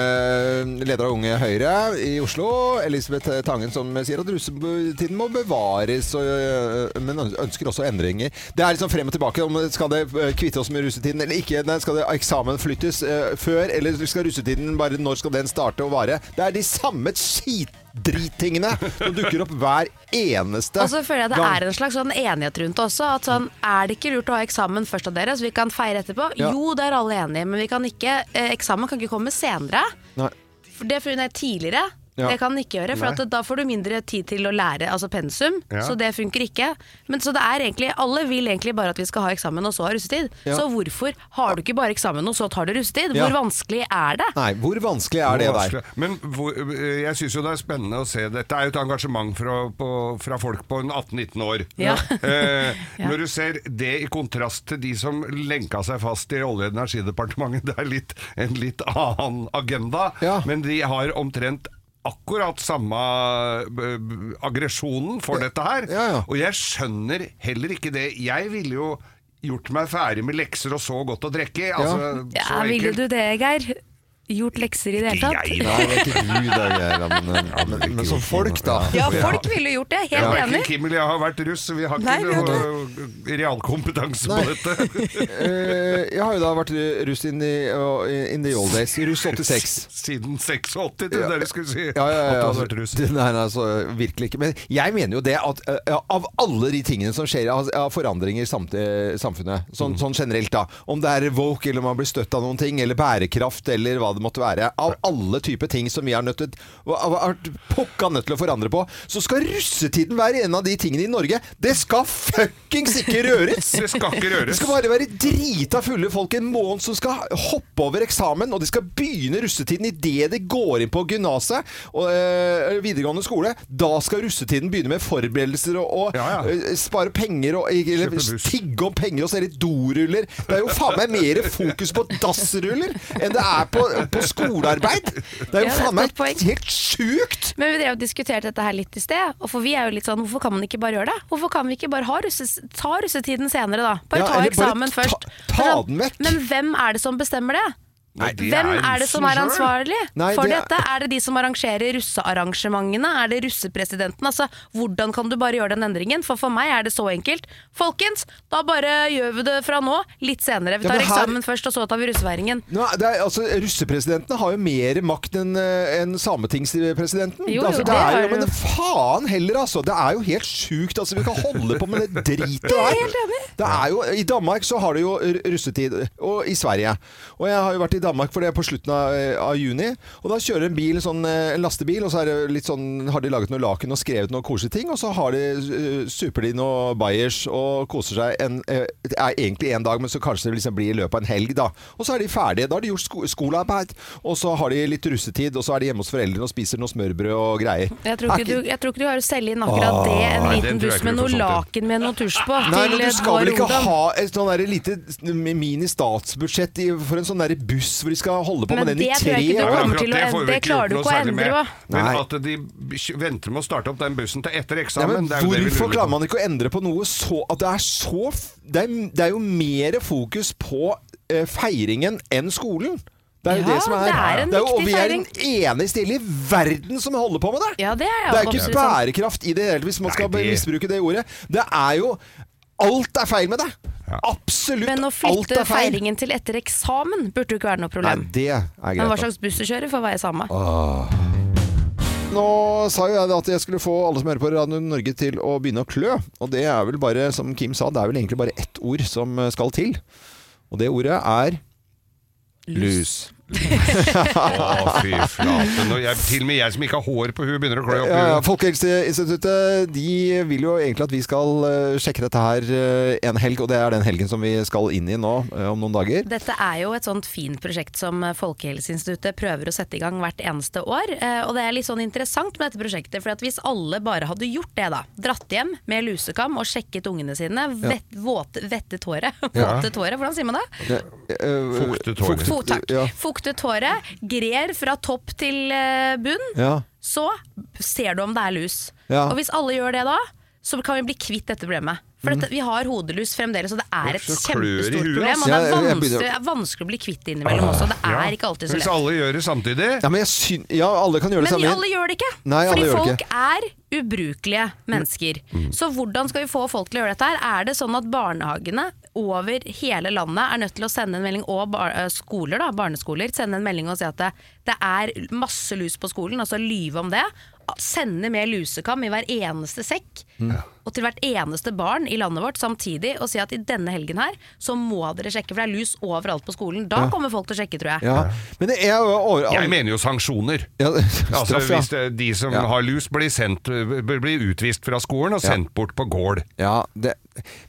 leder av Unge Høyre i Oslo, Elisabeth Tangen, som sier at russetiden må bevares, og, eh, men ønsker også endringer. Det er liksom frem og tilbake. om Skal det eh, kvitte oss med russetiden eller ikke? Nei, Skal det eksamen flyttes eh, før, eller skal russetiden bare Når skal den starte og vare? Det er de samme skitdritingene som dukker opp hver eneste
Og så føler jeg det
gang.
er en slags sånn enighet rundt det også. At sånn, er det ikke lurt å ha eksamen først av dere, så vi kan feire etterpå?
Ja.
Jo, det er alle enige i, men vi kan ikke, eh, eksamen kan ikke komme senere.
Nei.
For det funnet jeg tidligere.
Ja.
Det kan den ikke gjøre, for at da får du mindre tid til å lære, altså pensum.
Ja.
Så det funker ikke. Men så det er egentlig, alle vil egentlig bare at vi skal ha eksamen og så ha russetid.
Ja.
Så hvorfor har du ikke bare eksamen og så tar du russetid?
Ja.
Hvor vanskelig er det?
Nei, hvor vanskelig er det der?
Vanskelig. Men hvor, øh, jeg syns jo det er spennende å se Dette er jo et engasjement fra, på, fra folk på en 18-19 år.
Ja.
Eh, når du ser det i kontrast til de som lenka seg fast i Olje- og energidepartementet, det er litt, en litt annen agenda,
Ja.
men de har omtrent Akkurat samme øh, øh, aggresjonen for dette her.
Ja, ja.
Og jeg skjønner heller ikke det. Jeg ville jo gjort meg ferdig med lekser og så godt å drikke. Altså,
Ja,
så
ville
enkelt.
du det, Geir? Gjort lekser i det
Ikke
hele tatt?
jeg, da.
Nei, det er ikke du det, Geir. da, Men, eh, men, men som folk, da.
Ja, folk ville gjort det.
Ja,
Helt
verken
enig.
Kim eller jeg har vært russ, så vi har
Nei, vi
ikke
har
noe realkompetanse
Nei.
på dette.
Eh, jeg har jo da vært russ in the, eh, in the old days. Russ 86.
Siden 86, det
Ja.
dere skulle si.
Ja, ja, ja,
At du
altså,
hadde vært russ.
det- nei, nei, altså, virkelig ikke. Men jeg mener jo det at eh, ja, av alle de tingene som skjer av av forandringer i samt,
Mhm.
eh, samfunnet, sånn, sånn generelt da, om det er woke eller om man blir støtt av noen ting, eller bærekraft eller hva det måtte være, av alle typer ting som vi er nødt til og- og- og- pukka nødt til å forandre på, så skal russetiden være en av de tingene i Norge. Det skal fuckings ikke røres!
Det skal ikke
Det
røres.
skal bare være drita fulle folk en måned som skal hoppe over eksamen, og de skal begynne russetiden idet de går inn på gymnaset og øh, videregående skole. Da skal russetiden begynne med forberedelser og, og
Ja, ja.
øh, spare penger og eller,
Kjøpe buss.
tigge om penger og selge doruller. Det er jo faen meg mer fokus på dassruller enn det er på, på skolearbeid! Det er
Ja, det
jo
er
faen meg
et godt poeng.
helt sjukt!
Men vi drev og diskuterte dette her litt i sted, og for vi er jo litt sånn hvorfor kan man ikke bare gjøre det? Hvorfor kan vi ikke bare ha russes, ta russetiden senere, da? Bare
Ja,
ta
eller bare
eksamen
ta-
først.
ta
Men sånn,
den vekk.
Men hvem er det som bestemmer det?
Nei, det
Hvem
jo
er det som er
russen selv.
ansvarlig
Nei,
for
det er-
dette? Er det de som arrangerer russearrangementene? Er det russepresidenten? Altså, hvordan kan du bare gjøre den endringen? For for meg er det så enkelt. Folkens, da bare gjør vi det fra nå, litt senere. Vi
Ja,
tar
men her-
eksamen først, og så tar vi russeveiringen.
Nå, er- det er, altså, russepresidentene har jo mer makt enn eh, enn sametingspresidenten.
Jo, jo,
altså, det,
det
er
har
jo, men
du.
faen heller, altså! Det er jo helt sjukt. Altså, vi kan holde på med det dritet der. Det er jo, I Danmark så har du jo r- russetid, og i Sverige. Og jeg har jo vært i Danmark for det er på slutten av, eh, av juni. Og da kjører en bil, sånn, eh, en lastebil, og så er det litt sånn, har de laget noe laken og skrevet noen koselige ting. Og så har de, eh, super de noe bayers og koser seg en, eh, det er egentlig en dag, men så kanskje det liksom blir i løpet av en helg. da. Og så er de ferdige. Da har de gjort sko skolearbeid, og så har de litt russetid, og så er de hjemme hos foreldrene og spiser noe smørbrød og greier.
Jeg tror,
Er
ikke
ikke- Ah,
du, jeg tror ikke du har å selge inn akkurat det, en
Nei, den tror
liten
jeg
buss
ikke
med
du får
noe
solgt
laken med noe tusj på.
sånn Nei, men
til eh,
du skal vel ikke
vår ungdom.
ha et sånn der lite mini-statsbudsjett i- for en sånn der buss hvor de skal holde på
Men
med den i
det tror jeg
tre
ikke du
år?
kommer
Akkurat
til å
det får
ende-
vi
det
ikke
klarer
gjort
du
noe
ikke å
særlig
endre
med.
på.
Men
Nei.
at de b- venter med å starte opp den bussen til etter
Nei,
eksamen
men
det er jo det vi
hvorfor
lurer på.
klarer man ikke å endre på noe så at det er så f- Det er, det er jo mer fokus på eh, feiringen enn skolen. Det er jo
Ja,
det som er.
det er en
jo- og
viktig
vi er den eneste i verden som holder på med det.
Ja, det er jeg
det er
også
jo ikke
absolutt sant.
bærekraft i det hele hvis man
Nei,
skal
det-
misbruke det ordet. Det er jo Alt er feil med det! Absolutt
Men å
alt
flytte
er feil.
feiringen til etter eksamen burde jo ikke være
Nei,
noe problem.
det er Ah.
Men hva
greit.
slags buss du kjører, får være samme.
Nå sa jo jeg at jeg skulle få alle som hører på Radio Norge til å begynne å klø. Og det er vel bare, som Kim sa, det er vel egentlig bare ett ord som eh, skal til. Og det ordet er lus.
Å, fy flate. Når jeg, til og med jeg som ikke har hår på huet, begynner å klø opp i
Ja, ja,
huet.
Folkehelseinstituttet de vil jo egentlig at vi skal eh, sjekke dette her eh, en helg, og det er den helgen som vi skal inn i nå eh, om noen dager.
Dette er jo et sånt fint prosjekt som Folkehelseinstituttet prøver å sette i gang hvert eneste år. eh, Og det er litt sånn interessant med dette prosjektet, for at hvis alle bare hadde gjort det, da. Dratt hjem med lusekam og sjekket ungene sine. Vett, våt, vettet håret.
Ja.
Våtet håret, hvordan sier man det?
Eh, eh,
Fuktet hår.
fuktet-
Fot, takk.
Ja.
Fuktet håret, grer fra topp til eh, bunn.
ja.
så ser du om det er lus.
Ja.
Og hvis alle gjør det da, så kan vi bli kvitt dette problemet. For
Mm.
dette, vi har hodelus fremdeles, og det er et
Så klør i huet,
kjempestort
altså. Ah,
problem.
ass.
Og det
Ja, jeg- jeg
er vanskelig,
begynner-
det er vanskelig å bli kvitt det innimellom også. Det
Ja.
er ikke alltid så
Hvis
lett.
alle gjør det samtidig
ja, men jeg syn... Ja, alle kan gjøre det
Men
samme.
alle gjør det ikke!
Nei, alle
Fordi
gjør det Mm.
folk er ubrukelige mennesker. Så hvordan skal vi få folk til å gjøre dette her? Er det sånn at barnehagene over hele landet er nødt til å sende en melding, og bar eh, skoler, da, barneskoler, sende en melding og si at det, det er masse lus på skolen, altså lyve om det. Sende med lusekam i hver eneste sekk.
Mm.
Og til hvert eneste barn i landet vårt samtidig og si at i denne helgen her så må dere sjekke, for det er lus overalt på skolen. Da kommer folk til å sjekke, tror jeg.
Ja. Men det er jo over...
Jeg mener jo sanksjoner.
ja,
Altså,
straff, ja.
hvis det, de som
Ja.
har lus, blir, sendt, bør bli utvist fra skolen og
Ja.
sendt bort på gård.
Ja, det,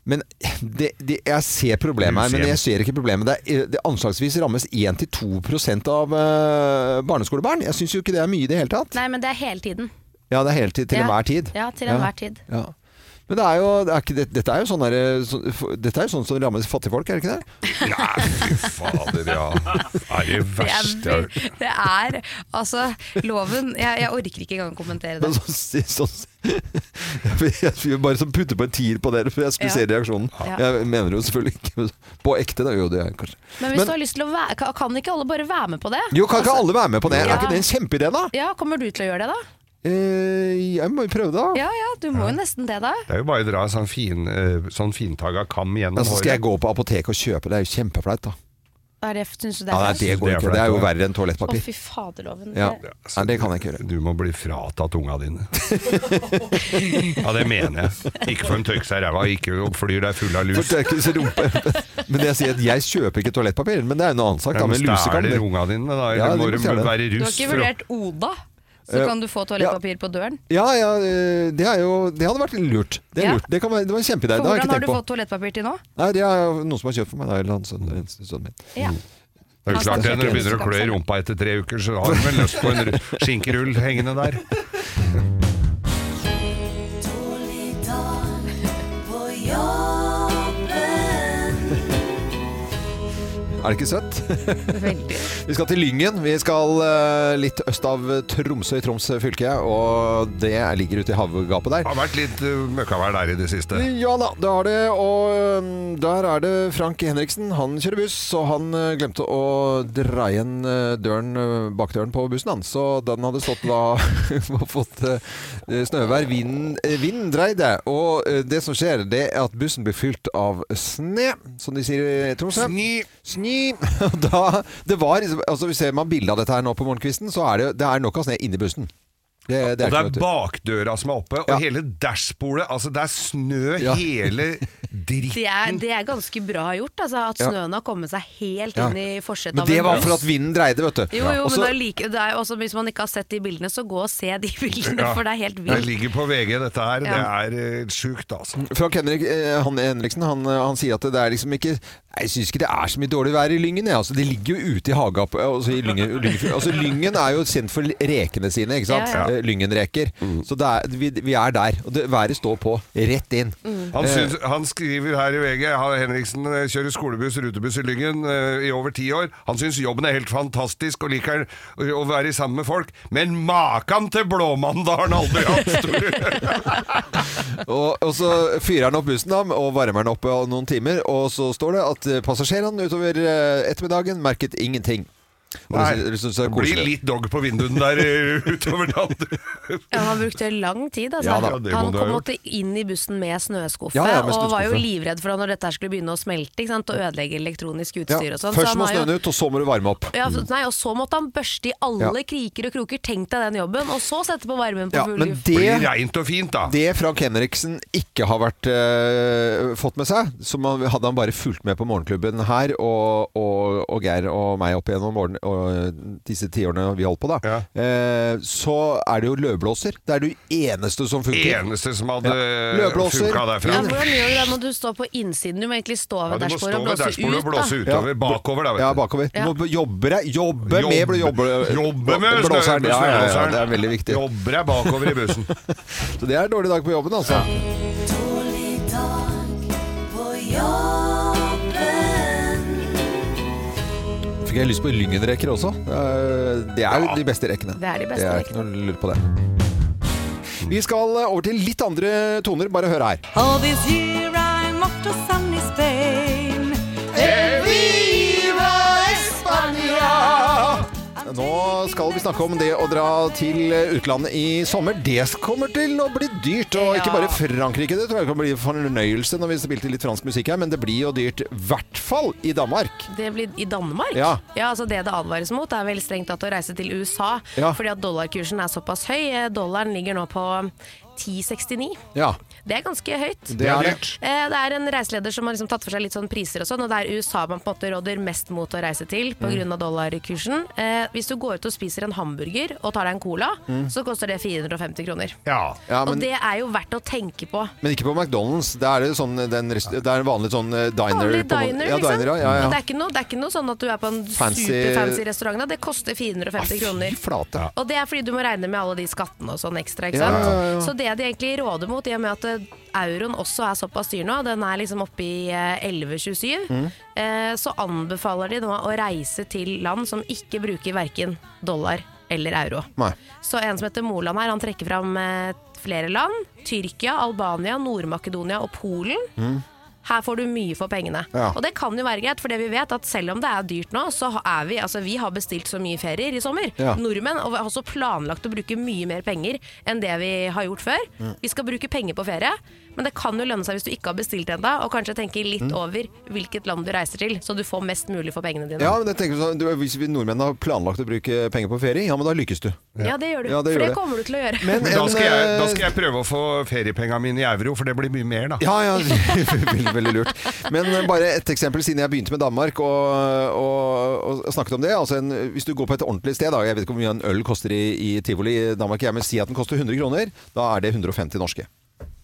men det, det, jeg ser problemet her,
Du ser
men
det.
jeg ser ikke problemet. Det, er, det anslagsvis rammes 1-2 av eh, barneskolebarn. Jeg syns jo ikke det er mye i det hele tatt.
Nei, men det er hele tiden.
Ja, det er helt til, til
Ja.
enhver tid.
Ja, til enhver tid.
Ja. Men det er jo, det er ikke, det, dette er jo sånn derre- så- for- Dette er jo sånn som rammer fattigfolk, er det ikke det?
Nei, fy fader, ja. Det er det
Det er,
verste jeg har hørt.
det er altså loven jeg, jeg orker ikke engang å kommentere
Men
det.
sånn, sånn, jeg, vil bare sånn putte på en tier på det, for jeg skulle
Ja.
se reaksjonen.
Ja.
Jeg mener det jo selvfølgelig ikke på ekte. Det er jo det, er kanskje.
Men hvis du har lyst til å være, kan- kan ikke alle bare være med på det?
jo, kan ikke alle være med på det? Er
Ja.
ikke det en kjempeidé, da?
Ja, Kommer du til å gjøre det, da?
Eh, jeg må jo prøve, da.
Ja ja, du må jo nesten det, da.
Det er jo bare å dra en sånn, fin, eh, sånn fintagga kam gjennom
Ja, så Altså, skal jeg gå
håret.
på apoteket og kjøpe. Det er jo kjempeflaut, da.
Er det, synes du det
Ja,
er
nei,
flaut?
det går
Det er
ikke. Det er jo
flaut, ja.
verre enn
Å,
toalettpapir.
fy faderloven.
Ja.
Det-
Nei, det kan jeg ikke gjøre.
Du må bli fratatt unga dine. ja, det mener jeg. Ikke få dem tørke seg i ræva, ikke flyr deg full av lus.
Fortørkelse, rumpe Men det jeg sier at jeg kjøper ikke toalettpapir, men det er jo noe annet sak. Da,
De
med lusekam.
stjeler unga dine, da.
Ja,
Eller
de
må
må stjele.
de være
Du har
russ?
ikke
for å-
vurdert Oda? Så
Eh,
kan du få toalettpapir på døren?
Ja, ja, eh, det, er jo, det hadde vært lurt. Det, er
Ja.
lurt. det, kan være, det var en kjempeidé.
For
Det har jeg
hvordan
ikke
har du
tenkt på.
fått toalettpapir til nå?
Nei, det er jo noen som har kjøpt for meg. Da, eller han sønnen sønnen min.
Ja.
Det er jo klart det, Når du begynner å klø i
Lusekam.
rumpa etter tre uker, så har du vel lyst på en ru- skinkerull hengende der.
Er det ikke søtt?
Veldig.
Vi skal til Lyngen. Vi skal eh, litt øst av Tromsø i Troms fylke. Og det ligger ute i havgapet der.
Det har vært litt uh, møkkavær der i det siste.
Ja da, det har det. Og mm, der er det Frank Henriksen. Han kjører buss, og han eh, glemte å dra igjen eh, døren, eh, bakdøren på bussen hans. Så den hadde stått da og fått eh, snøvær. Vinden, eh, vinden dreide. Og eh, det som skjer, det er at bussen blir fylt av sne, som de sier i Tromsø.
Sni.
Sni! Og Da, det var, liksom- altså Hvis man bilde av dette her nå på morgenkvisten, så er det, det er nok av sne inni bussen. Det, det
Og det
ikke
er
noe tvil.
bakdøra som er oppe, og
Ja.
hele dashbordet Altså, det er snø
Ja.
hele
Det er,
dritten.
det er ganske bra gjort, altså, at
Ja.
snøen har kommet seg helt
Ja.
inn i forsetet
Men
av
det var
en
for
buss.
at vinden dreide, vet du.
Jo, jo,
Og så-
men det er like, det er jo også, hvis man ikke har sett de bildene, så gå og se de bildene,
Ja.
for det er helt
Det
vilt.
ligger på VG, dette her.
Ja.
Det er uh, sjukt, altså.
Frank Henrik, eh, han, Henriksen han, eh, han sier at det er liksom ikke Jeg syns ikke det er så mye dårlig vær i Lyngen. Jeg. Altså, det ligger jo ute i hagegapet. Altså, i Lyngen, Lyngen, altså, Lyngen er jo kjent for rekene sine, ikke sant?
Ja,
Eh, Lyngenreker.
Mm.
Så det er, vi, vi er der. Og det, været står på rett inn.
Mm.
Eh.
Han, syns, han skriver her i VG han- Henriksen eh, kjører skolebuss, rutebuss i Lyngen eh, i over ti år. Han syns jobben er helt fantastisk og liker å- å være sammen med folk, men makan til blåmandag har han aldri hatt! tror du.
Og, og så fyrer han opp bussen da, og varmer den opp eh, noen timer. Og så står det at eh, passasjerene utover eh, ettermiddagen merket ingenting. Og
Nei,
det synes jeg er
det blir
koselig.
litt dog på vinduene der eh, utover dagen.
Ja, han brukte lang tid, altså.
Ja da,
det må
han
det ha
kom måtte inn i bussen med snøskuffe,
Ja, ja, med
og var jo
snøskuffe.
livredd for når dette her skulle begynne å smelte, ikke sant, og ødelegge elektronisk
Ja,
utstyr og sånn.
først
han
må
har jo-
snøen ut, og så må du varme opp.
Ja, f- nei, og så måtte han børste i alle kriker og kroker. Tenk deg den jobben, og så sette på varmen på
Ja,
full
men
luft.
det
Blir reint og fint, da.
Det Frank Henriksen ikke har vært, eh, fått med seg, som han, hadde han bare fulgt med på morgenklubben her, og, og, og Geir og meg opp igjennom morgen, og eh, disse tiårene vi holdt på, da,
Ja.
eh, så er det jo løvblåser. Det er det eneste som funker.
Eneste som hadde
Ja. Løvblåser.
funka derfra.
Ja, hvordan gjør du det? Må du stå på innsiden? Du må egentlig stå
Ja,
ved
du må stå
dashbordet og
ved
blåse
dashbordet
ut.
og blåse
da.
utover. Bakover, da,
Ja,
vet du.
bakover.
Ja.
Du må jobbe deg. Jobbe med
Jobbe-
jobbe,
Jobbe med
blåseren. Ja, ja, ja,
snøblåseren.
det er veldig viktig.
Jobber deg bakover i bussen.
Så det er en dårlig dag på jobben, altså. Fikk jeg lyst på Lyngen-reker også? Eh, Det er jo de beste rekene.
Det er de beste
det er ikke noe lurt på det. Vi skal over til litt andre toner. Bare hør her.
All this year I'm off to sunny Spain.
Nå skal vi snakke om det å dra til utlandet i sommer. Det kommer til å bli dyrt. Og ikke bare Frankrike. Det tror jeg kan bli fornøyelse når vi spilte litt fransk musikk her, men det blir jo dyrt. I hvert fall i Danmark.
Det blir I Danmark?
Ja.
altså Det det advares mot, er vel strengt tatt å reise til USA.
Ja.
Fordi at dollarkursen er såpass høy. Eh, Dollaren ligger nå på 10,69.
Ja,
Det er ganske høyt.
det er det.
Eh, Det er en reiseleder som har liksom tatt for seg litt sånn priser og sånn, og det er USA man på en måte råder mest mot å reise til
Mm.
pga. dollarkursen. Eh, Hvis du går ut og spiser en hamburger og tar deg en cola, så koster det 450 kroner.
Ja.
Mm. Ja, men,
og det er jo verdt å tenke på.
men ikke på McDonald's. Det er, det sånn, den, rest- det er en vanlig sånn eh, diner.
Vanlig
på-
diner,
ja,
liksom.
diner, ja, ja, ja.
Det, er ikke noe, det er ikke noe sånn at du er på en
Fancy-
superfancy restaurant. da. Det koster 450 kroner.
Fy flate.
Og det er fordi du må regne med alle de skattene og sånn ekstra. ikke
Ja,
sant?
ja, ja.
Så det de egentlig råder mot, i og med at eh, euroen også er såpass dyr nå, den er liksom oppe i eh, 11,27,
Mm.
eh, så anbefaler de nå å reise til land som ikke bruker verken dollar eller euro.
Nei.
Så en som heter Moland her, han trekker fram eh, flere land. Tyrkia, Albania, Nord-Makedonia og Polen. Her får du mye for pengene.
Ja.
Og det kan jo være greit, for det vi vet at selv om det er dyrt nå, så ha- er vi altså vi har bestilt så mye ferier i sommer.
Ja.
Nordmenn og vi har også planlagt å bruke mye mer penger enn det vi har gjort før. Vi skal bruke penger på ferie, men det kan jo lønne seg hvis du ikke har bestilt ennå, og kanskje tenke litt
Mm.
over hvilket land du reiser til, så du får mest mulig for pengene dine.
Ja, men jeg tenker sånn, du, Hvis vi nordmenn har planlagt å bruke penger på ferie, ja, men da lykkes du.
Ja, det gjør du.
Ja, det gjør
for det
det.
kommer du til å gjøre.
Men
Men da
en,
skal, jeg, da
eh,
skal jeg prøve å få feriepengene mine i euro, for det blir mye mer, da.
Ja, ja, veldig, veldig lurt. Men eh, bare et eksempel, siden jeg begynte med Danmark og, og, og snakket om det. Altså en, hvis du går på et ordentlig sted, da, jeg vet ikke hvor mye en øl koster i, i tivoli i Danmark, jeg, men si at den koster 100 kroner, da er det 150 norske.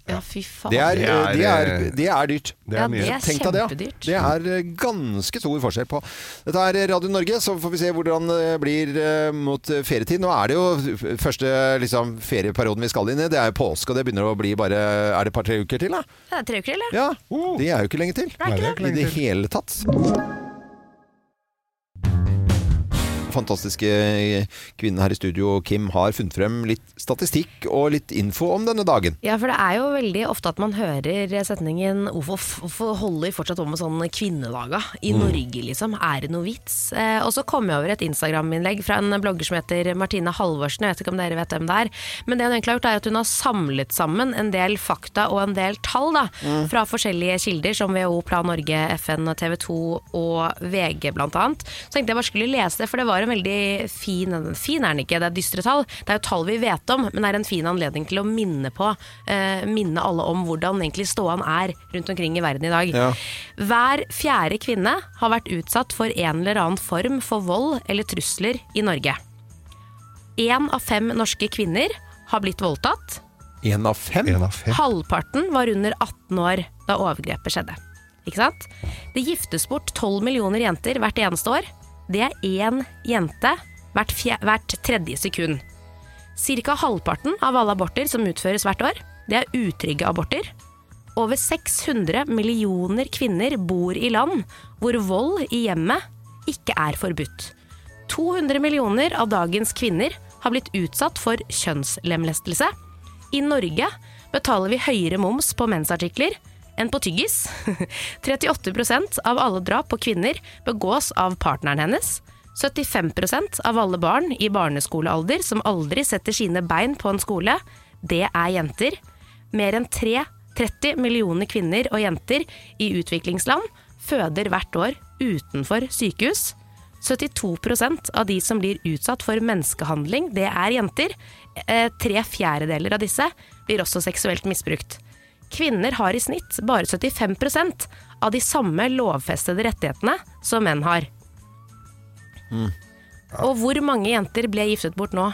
Ja, fy faen.
Det er,
Det er,
eh, det er,
eh,
det er dyrt.
Det er
Ja,
mye.
det er
Tenk deg det, ja.
kjempedyrt.
Det er eh, ganske stor forskjell på. Dette er eh, Radio Norge, så får vi se hvordan det blir eh, mot eh, ferietid. Nå er det jo f- første liksom, ferieperioden vi skal inn i. Det er jo påske, og det begynner å bli bare Er det et par-tre uker til, da?
Det er tre uker, eller?
Ja,
Uh,
Det er jo ikke lenge til.
Nei, det er ikke
I det
lenge til.
hele tatt. Fantastiske kvinnen her i studio, Kim, har funnet frem litt statistikk og litt info om denne dagen.
Ja, for det er jo veldig ofte at man hører setningen Hvorfor, hvorfor holder vi fortsatt på med sånne kvinnedager i
Mm.
Norge, liksom? Er det noe vits? Eh, og så kom jeg over et Instagram-innlegg fra en blogger som heter Martine Halvorsen, jeg vet ikke om dere vet hvem det er. Men det hun egentlig har gjort, er at hun har samlet sammen en del fakta og en del tall da, fra forskjellige kilder, som WHO, Plan Norge, FN, TV 2 og VG blant annet. Så tenkte jeg bare skulle lese det, for det var en veldig fin Fin er den ikke, det er dystre tall. Det er jo tall vi vet om, men det er en fin anledning til å minne på eh, Minne alle om hvordan egentlig ståan er rundt omkring i verden i dag.
Ja.
Hver fjerde kvinne har vært utsatt for en eller annen form for vold eller trusler i Norge. Én av fem norske kvinner har blitt voldtatt.
Én av fem?
En av fem.
Halvparten var under 18 år da overgrepet skjedde. Ikke sant? Det giftes bort 12 millioner jenter hvert eneste år. Det er én jente hvert, fje- hvert tredje sekund. Cirka halvparten av alle aborter som utføres hvert år, det er utrygge aborter. Over 600 millioner kvinner bor i land hvor vold i hjemmet ikke er forbudt. 200 millioner av dagens kvinner har blitt utsatt for kjønnslemlestelse. I Norge betaler vi høyere moms på mensartikler enn på tyggis. 38 av alle drap på kvinner begås av partneren hennes. 75 av alle barn i barneskolealder som aldri setter sine bein på en skole, det er jenter. Mer enn tre- 30 millioner kvinner og jenter i utviklingsland føder hvert år utenfor sykehus. 72 av de som blir utsatt for menneskehandling, det er jenter. Eh, tre fjerdedeler av disse blir også seksuelt misbrukt. Kvinner har i snitt bare 75 av de samme lovfestede rettighetene som menn har. Og hvor mange jenter ble giftet bort nå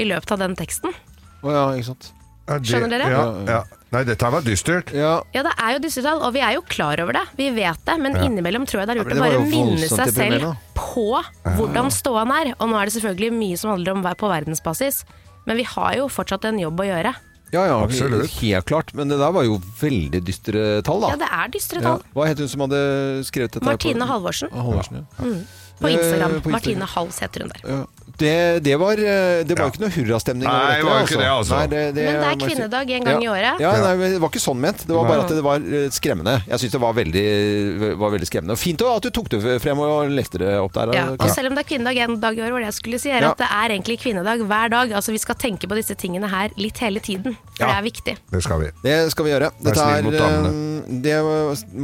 i løpet av den teksten?
Å ja, ikke sant.
Ja, det-
Skjønner dere?
Ja, ja. Nei, dette her var dystert.
Ja,
Ja, det er jo dystre tall, og vi er jo klar over det. Vi vet det, men innimellom tror jeg det er lurt
Ja, men
å
det var
bare
jo
minne
voldsomt
seg selv
deprimerende.
på hvordan ståan er. Og nå er det selvfølgelig mye som handler om vær på verdensbasis, men vi har jo fortsatt en jobb å gjøre.
ja, ja
Absolutt.
helt klart. Men det der var jo veldig dystre tall, da.
Ja, det er dystre
Ah. Ja.
tall.
Hva het hun som hadde skrevet dette? her på-
Martine Halvorsen
Ah, Halvorsen, ja.
på Instagram.
Eh, på Instagram.
Martine Hals heter hun der.
Ja. Det, det var, eh, det var
Ja.
ikke noe hurrastemning. over
Nei, det
dette,
var jo ikke det, altså.
Nei, det
Men det er
må jeg si.
kvinnedag en gang
ja.
i året.
Ja, nei, men det var ikke sånn ment. Det var bare
Nei.
at det var eh, skremmende. Jeg syns det var veldig, var veldig skremmende. Og fint også at du tok det frem og leste det opp der.
Ja, og
Kim.
selv om det er kvinnedag en dag i år, var det jeg skulle si, er
Ja.
at det er egentlig kvinnedag hver dag. Altså Vi skal tenke på disse tingene her litt hele tiden, for
Ja.
det er viktig.
Det skal vi.
Det skal vi gjøre. Dette
snill
er,
mot damene.
eh,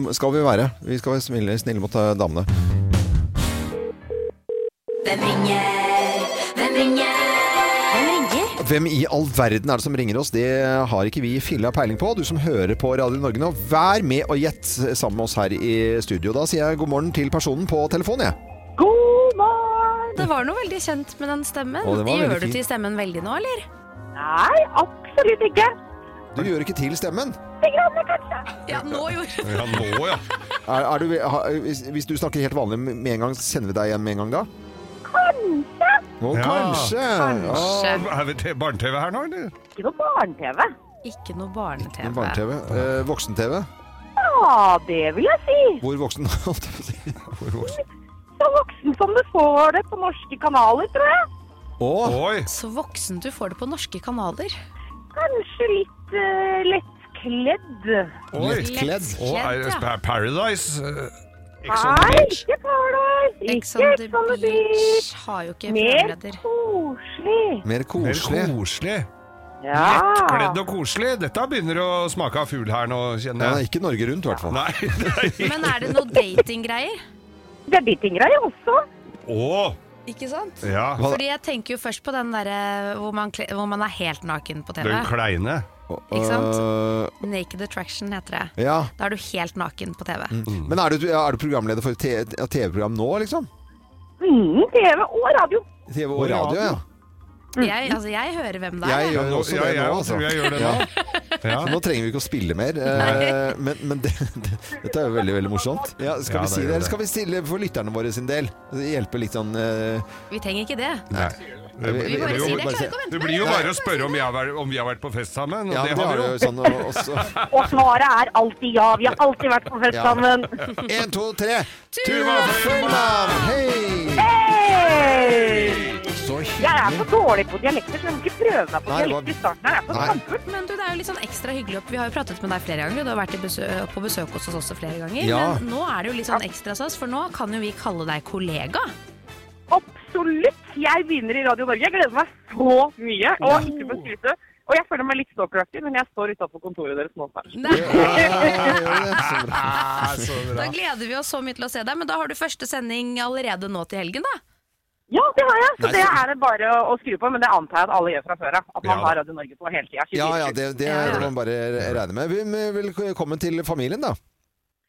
det skal vi være. Vi skal være snille, snille mot eh, damene.
Hvem ringer? Hvem ringer? Hvem ringer?
Hvem i all verden er det som ringer oss? Det har ikke vi filla peiling på. Du som hører på Radio Norge nå, vær med og gjett sammen med oss her i studio. Da sier jeg god morgen til personen på telefonen, jeg.
God morgen!
Det var noe veldig kjent med den stemmen.
Å, det var veldig
Gjør du
fint.
til stemmen veldig nå, eller?
Nei, absolutt ikke.
Du gjør ikke til stemmen.
Litt grann, kanskje.
Ja, nå gjorde
Ja, nå, ja.
Er, er du, ha, hvis, hvis du snakker helt vanlig med en gang, sender vi deg igjen med en gang da?
Kanskje.
Å,
Ja.
kanskje.
Å, Er vi til barne-TV her nå, eller?
Ikke noe barne-TV.
Ikke noe
Men
barne-TV.
Barne-TV. Eh, Voksen-TV.
Ja, det vil jeg si.
Hvor voksen? holdt jeg på å si.
Så voksen som du får det på norske kanaler, tror jeg.
Å,
Oi!
Så voksen du får det på norske kanaler.
Kanskje litt uh, lett lettkledd.
Lettkledd.
Og er det Pa- Paradise? eh, Ex on the
Nei,
Beach?
ikke Paradise!
Ex
Ikke sånn
on the
Ex on the
Beach
Beach!
har jo ikke
Mer
programleder.
koselig.
Mer
Mer
koselig.
koselig.
Ja.
Kledd og koselig. Dette begynner å smake av fugl her nå,
Ja,
kjenner jeg.
ikke Norge Rundt, i hvert fall.
Nei, nei.
Men er det noe datinggreier?
Det er de tingra jeg også.
Å,
Ikke sant?
ja.
Hva-
Fordi jeg tenker jo først på den derre hvor, man kle- hvor man er helt naken på TV.
Den kleine.
Ikke sant?
Øh,
Naked Attraction heter det.
Eh, ja.
Da er du helt naken på TV.
Men er du, er du programleder for et te- et TV-program nå, liksom?
Mm, TV og radio.
TV og radio, ja.
Jeg, altså, jeg hører hvem det er.
Jeg
jeg.
gjør også
ja,
det nå,
jeg også
altså.
tror jeg gjør det
Ja.
Ja.
Så nå trenger vi ikke å spille mer. eh, Men, men det, det, dette er jo veldig veldig morsomt. Ja, skal vi
Ja, det
si
gjør
det, eller
det.
skal vi stille for lytterne våre sin del? Hjelpe litt sånn eh,
Vi trenger ikke det.
Nei. Det
Vi
blir
bare
jo-
sier det.
Jeg klarer ikke å
Det
vente.
blir jo bare å spørre om, jeg har, vært- om vi har vært på fest sammen. Og
Ja,
det
det
har
har
vi
du
jo.
jo sånn og- og så-
Og svaret er alltid ja. Vi har alltid vært på fest
Ja.
sammen.
En, to, tre.
Tuva
Fullmann! Hei!
Hei!
Så
Jeg er for
hyggelig.
dårlig på dialekter, så jeg må ikke prøve meg på
Nei, det var-
dialekter i starten. her. Jeg er for
Nei.
gammel.
Men du, det er jo litt sånn ekstra hyggelig. opp- Vi har jo pratet med deg flere ganger. Du har vært i besø- på besøk hos oss også flere ganger.
Ja.
Men nå er det jo litt sånn ekstra stas, for nå kan jo vi kalle deg kollega.
Absolutt. Jeg begynner i Radio Norge. Jeg gleder meg så mye. Og ikke for å skryte. Og jeg føler meg litt stalkeraktig, men jeg står utafor kontoret deres nå snart.
Ja, gjør det. Så bra.
Ah, så bra.
Da gleder vi oss så mye til å se deg, men da har du første sending allerede nå til helgen, da.
Ja, det har jeg. Så
Nei,
det
så-
er det bare å skru på. Men det antar jeg at alle gjør fra før av. At man
Ja.
har Radio Norge på hele tida.
Ah, Ja, ja, det, det, det må man bare regne med. Vi- vi- Velkommen til familien, da.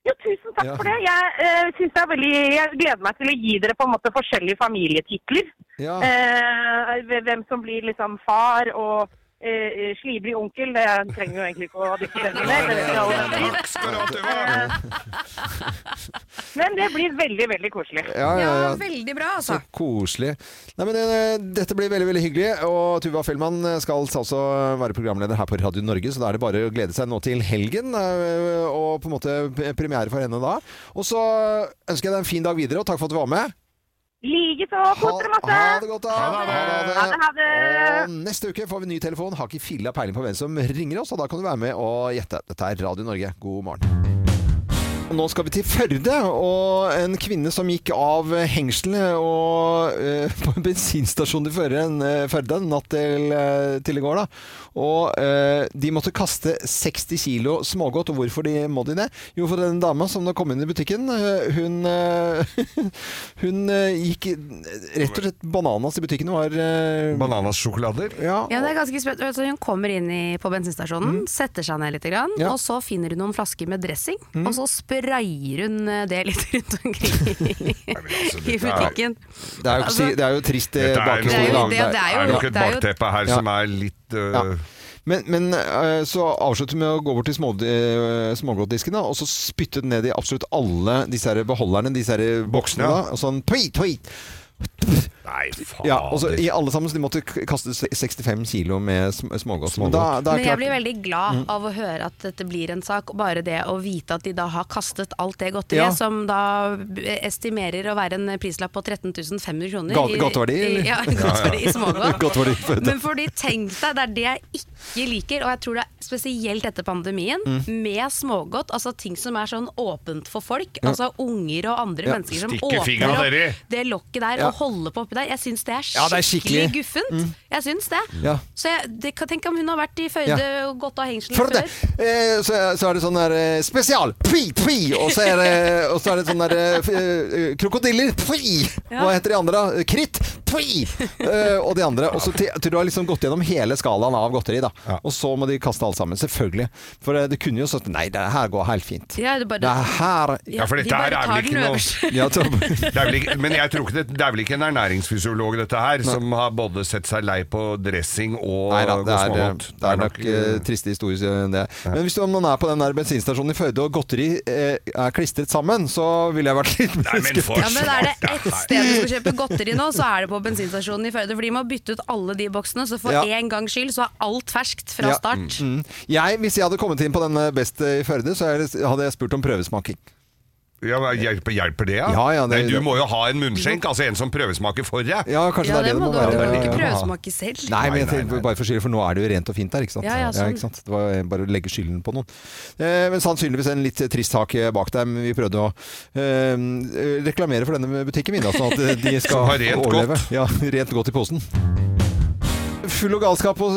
Jo, tusen takk
Ja.
for det. Jeg, eh, synes det er veldig, jeg gleder meg til å gi dere på en måte forskjellige familietitler.
Ja.
Eh, hvem som blir liksom far og eh, slibrig onkel, det trenger vi jo egentlig ikke å diskutere mer. Det vet vi alle hvem er.
Takk skal du ha, Tuva.
Men det blir veldig, veldig koselig.
Ja, ja, ja.
veldig bra,
Så
altså.
koselig. Nei, men eh, Dette blir veldig veldig hyggelig. Og Tuva Fellmann skal altså være programleder her på Radio Norge, så da er det bare å glede seg nå til helgen. eh, Og på en måte premiere for henne da. Og så ønsker jeg deg en fin dag videre, og takk for at du var med.
Likeså.
Ha,
Kos dere
ha
masse.
det godt, da.
Ha det, ha det.
Ha det.
Ha det, ha det.
Og neste uke får vi ny telefon. Har ikke filla peiling på hvem som ringer oss, og da kan du være med og gjette. Dette er Radio Norge. God morgen. Og Nå skal vi til Førde, og en kvinne som gikk av hengselet og, eh, på en bensinstasjon i Førde, en, eh, Førde natt til, eh, til i går. Da. Og eh, de måtte kaste 60 kilo smågodt, og hvorfor de må de det? Jo, for den dama som da kom inn i butikken, eh, hun, eh, hun eh, gikk rett og slett bananas i butikken. og Var, eh,
Bananasjokolader.
ja,
Ja, det er ganske spennende. Altså, hun kommer inn i, på bensinstasjonen,
Mm.
setter seg ned litt, grann,
Ja.
og så finner hun noen flasker med dressing,
Mm.
og så sprayer hun eh, det litt rundt omkring i,
altså,
i butikken.
Det er jo, ikke si- det er jo trist eh,
Dette er jo-
Altså- Det er
bakhistorie.
jo,
da.
det, det
Det
er
er
jo,
nok et
det er jo
bakteppe her
Ja.
som er litt øh,
Ja. Men, men eh, så avslutter vi med å gå bort til små, eh, smågodtdisken, da, og så spytte den ned i absolutt alle disse her beholderne, disse her boksene.
Ja.
da, og sånn tøy, tøy!
Nei, fader.
Ja, altså, og Ah, så I alle sammen så de måtte k- kaste se- 65 kilo med sm smågodt. Men da, da er
Men jeg
klart,
blir veldig
Mm.
glad av å høre at dette blir en sak. og Bare det å vite at de da har kastet alt det
Ja.
godteriet som da estimerer å være en prislapp på 13 500 kroner.
Ga-
i-
godtverdi,
i-
eller?
Ja, godtverdi i smågodt.
Godt for de fødte.
Men fordi, tenk deg, det er det jeg ikke liker, og jeg tror det er spesielt etter pandemien, med smågodt, altså ting som er sånn åpent for folk, altså unger og andre
Ja.
mennesker som
Stikke fingra
åpner
nedi.
opp det lokket der
Ja.
og holder på oppi der. Jeg syns det er skikkelig,
Ja, det er skikkelig.
guffent. Jeg syns det.
Ja.
Så jeg, det, kan- tenk om hun har vært i Førde og gått av hengselen
For det,
før.
eh, så, så er det sånn der eh, spesial, pui, pui, og så er det, og så er det sånn der eh, f- eh, krokodiller, pui, hva heter de andre da? Kritt, pui, eh, og de andre. Og så til, til du har liksom gått gjennom hele skalaen av godteri da, og så må de kaste alt sammen, selvfølgelig. For eh, det kunne jo sånn, nei, det her går helt fint.
Ja, det bare-
Det her...
Ja, for
de
dette her
bare
er
tar
vel ikke
den
noe
øverst.
Ja, så,
det er vel ikke, Men jeg tror ikke det, det er vel ikke en ernæringsfysiolog dette her, som har både sett seg lei på dressing og
Nei da, det er, det,
smågodt.
er nok eh, triste historier enn det. Men hvis du, om noen er på den der bensinstasjonen i Førde og godteri eh, er klistret sammen, så ville jeg vært litt
Nei, men for
Ja, men er det
svarte
ett sted du skal kjøpe godteri nå, så er det på bensinstasjonen i Førde. For de må bytte ut alle de boksene, så for
Ja.
en gangs skyld så er alt ferskt
Ja. Mm.
fra start.
eh, Jeg, hvis jeg hadde kommet inn på den best i Førde, så hadde jeg spurt om prøvesmaking.
Ja, men hjelper, hjelper det, ja?
Ja, ja, det-
Nei, du må jo ha en munnskjenk, altså en som prøvesmaker for deg.
Ja, kanskje
Ja,
det
det
er det det
må
må
du ha. Du
være.
kan ikke
Ja.
prøvesmake selv.
Nei, men jeg
Nei, nei,
tenkte
nei.
bare for skyld, for nå er det jo rent og fint der, ikke sant?
Ja, ja, sånn.
ikke sant? Det var bare å legge skylden på noen. Eh, men sannsynligvis en litt trist sak eh, bak der, men vi prøvde å eh, reklamere for denne butikken min, da, sånn at eh, de skal
Som har rent
overleve.
godt.
Ja, rent godt i posen. Full og galskap hos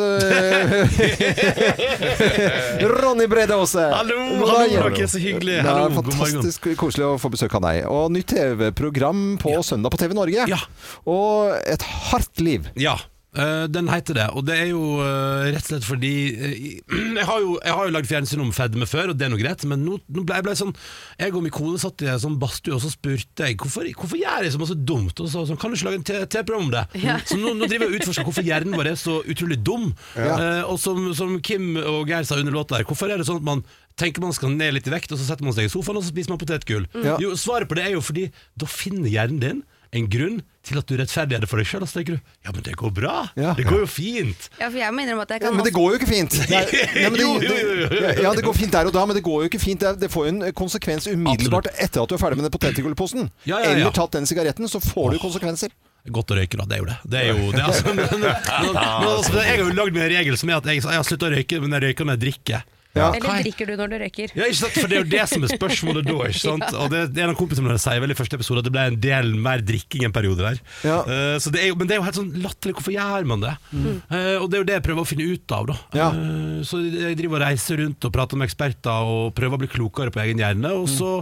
eh, Ronny Brede Aase.
Hallo,
God
hallo,
dag.
dere er så hyggelige.
Det
Hallo,
er
god
fantastisk koselig å få besøk av deg. Og nytt TV-program på søndag på TV Norge.
Ja.
Og et hardt liv.
Ja, øh, den heter det. Og det er jo øh, rett og slett fordi øh, Jeg har jo, jeg har jo lagd fjernsyn om fedme før, og det er nå greit, men nå, nå ble jeg ble sånn Jeg og min kone satt i en sånn badstue, og så spurte jeg hvorfor, hvorfor gjør jeg så masse dumt. Og så sånn, kan du ikke lage en T- T-program om det? Så nå, nå driver jeg og utforsker hvorfor hjernen vår er så utrolig dum. Eh, og som, som Kim og Geir sa under låta her, hvorfor er det sånn at man tenker man skal ned litt i vekt, og så setter man seg i sofaen og så spiser man potetgull?
Ja.
Jo, svaret på det er jo fordi da finner hjernen din en grunn til at du rettferdiggjør det for deg sjøl. Og så tenker du ja, men det går bra.
Ja.
Det går jo fint.
Ja, for jeg må innrømme at jeg
Ja,
kan
men det går jo ikke fint. Det er, nei, men det,
Jo, jo, jo, jo.
det- ja, det går fint der og da, men det går jo ikke fint. Det, er- det får jo en eh, konsekvens umiddelbart etter at du er ferdig med den potetgullposen.
Ja, ja, ja.
Eller tatt den sigaretten, så får du konsekvenser.
Godt å røyke, da. Det er jo det. det, er jo, det er altså, men, men, men, altså, jeg har jo lagd meg en regel som er at jeg, jeg har slutta å røyke, men jeg røyker når jeg drikker.
Ja.
Hva
Eller
er-
drikker du når du røyker?
Ja, ikke sant? For Det er jo det som er spørsmålet da. ikke sant? Og det, det er en av kompisene mine som sier vel i første episode at det ble en del mer drikking en periode der.
Ja. Mm.
Eh, så det er jo, men det er jo helt sånn latterlig. Hvorfor gjør man det? Eh, og det er jo det jeg prøver å finne ut av. da.
Ja.
Eh, så jeg driver og reiser rundt og prater med eksperter og prøver å bli klokere på egen hjerne. Og
Mm.
så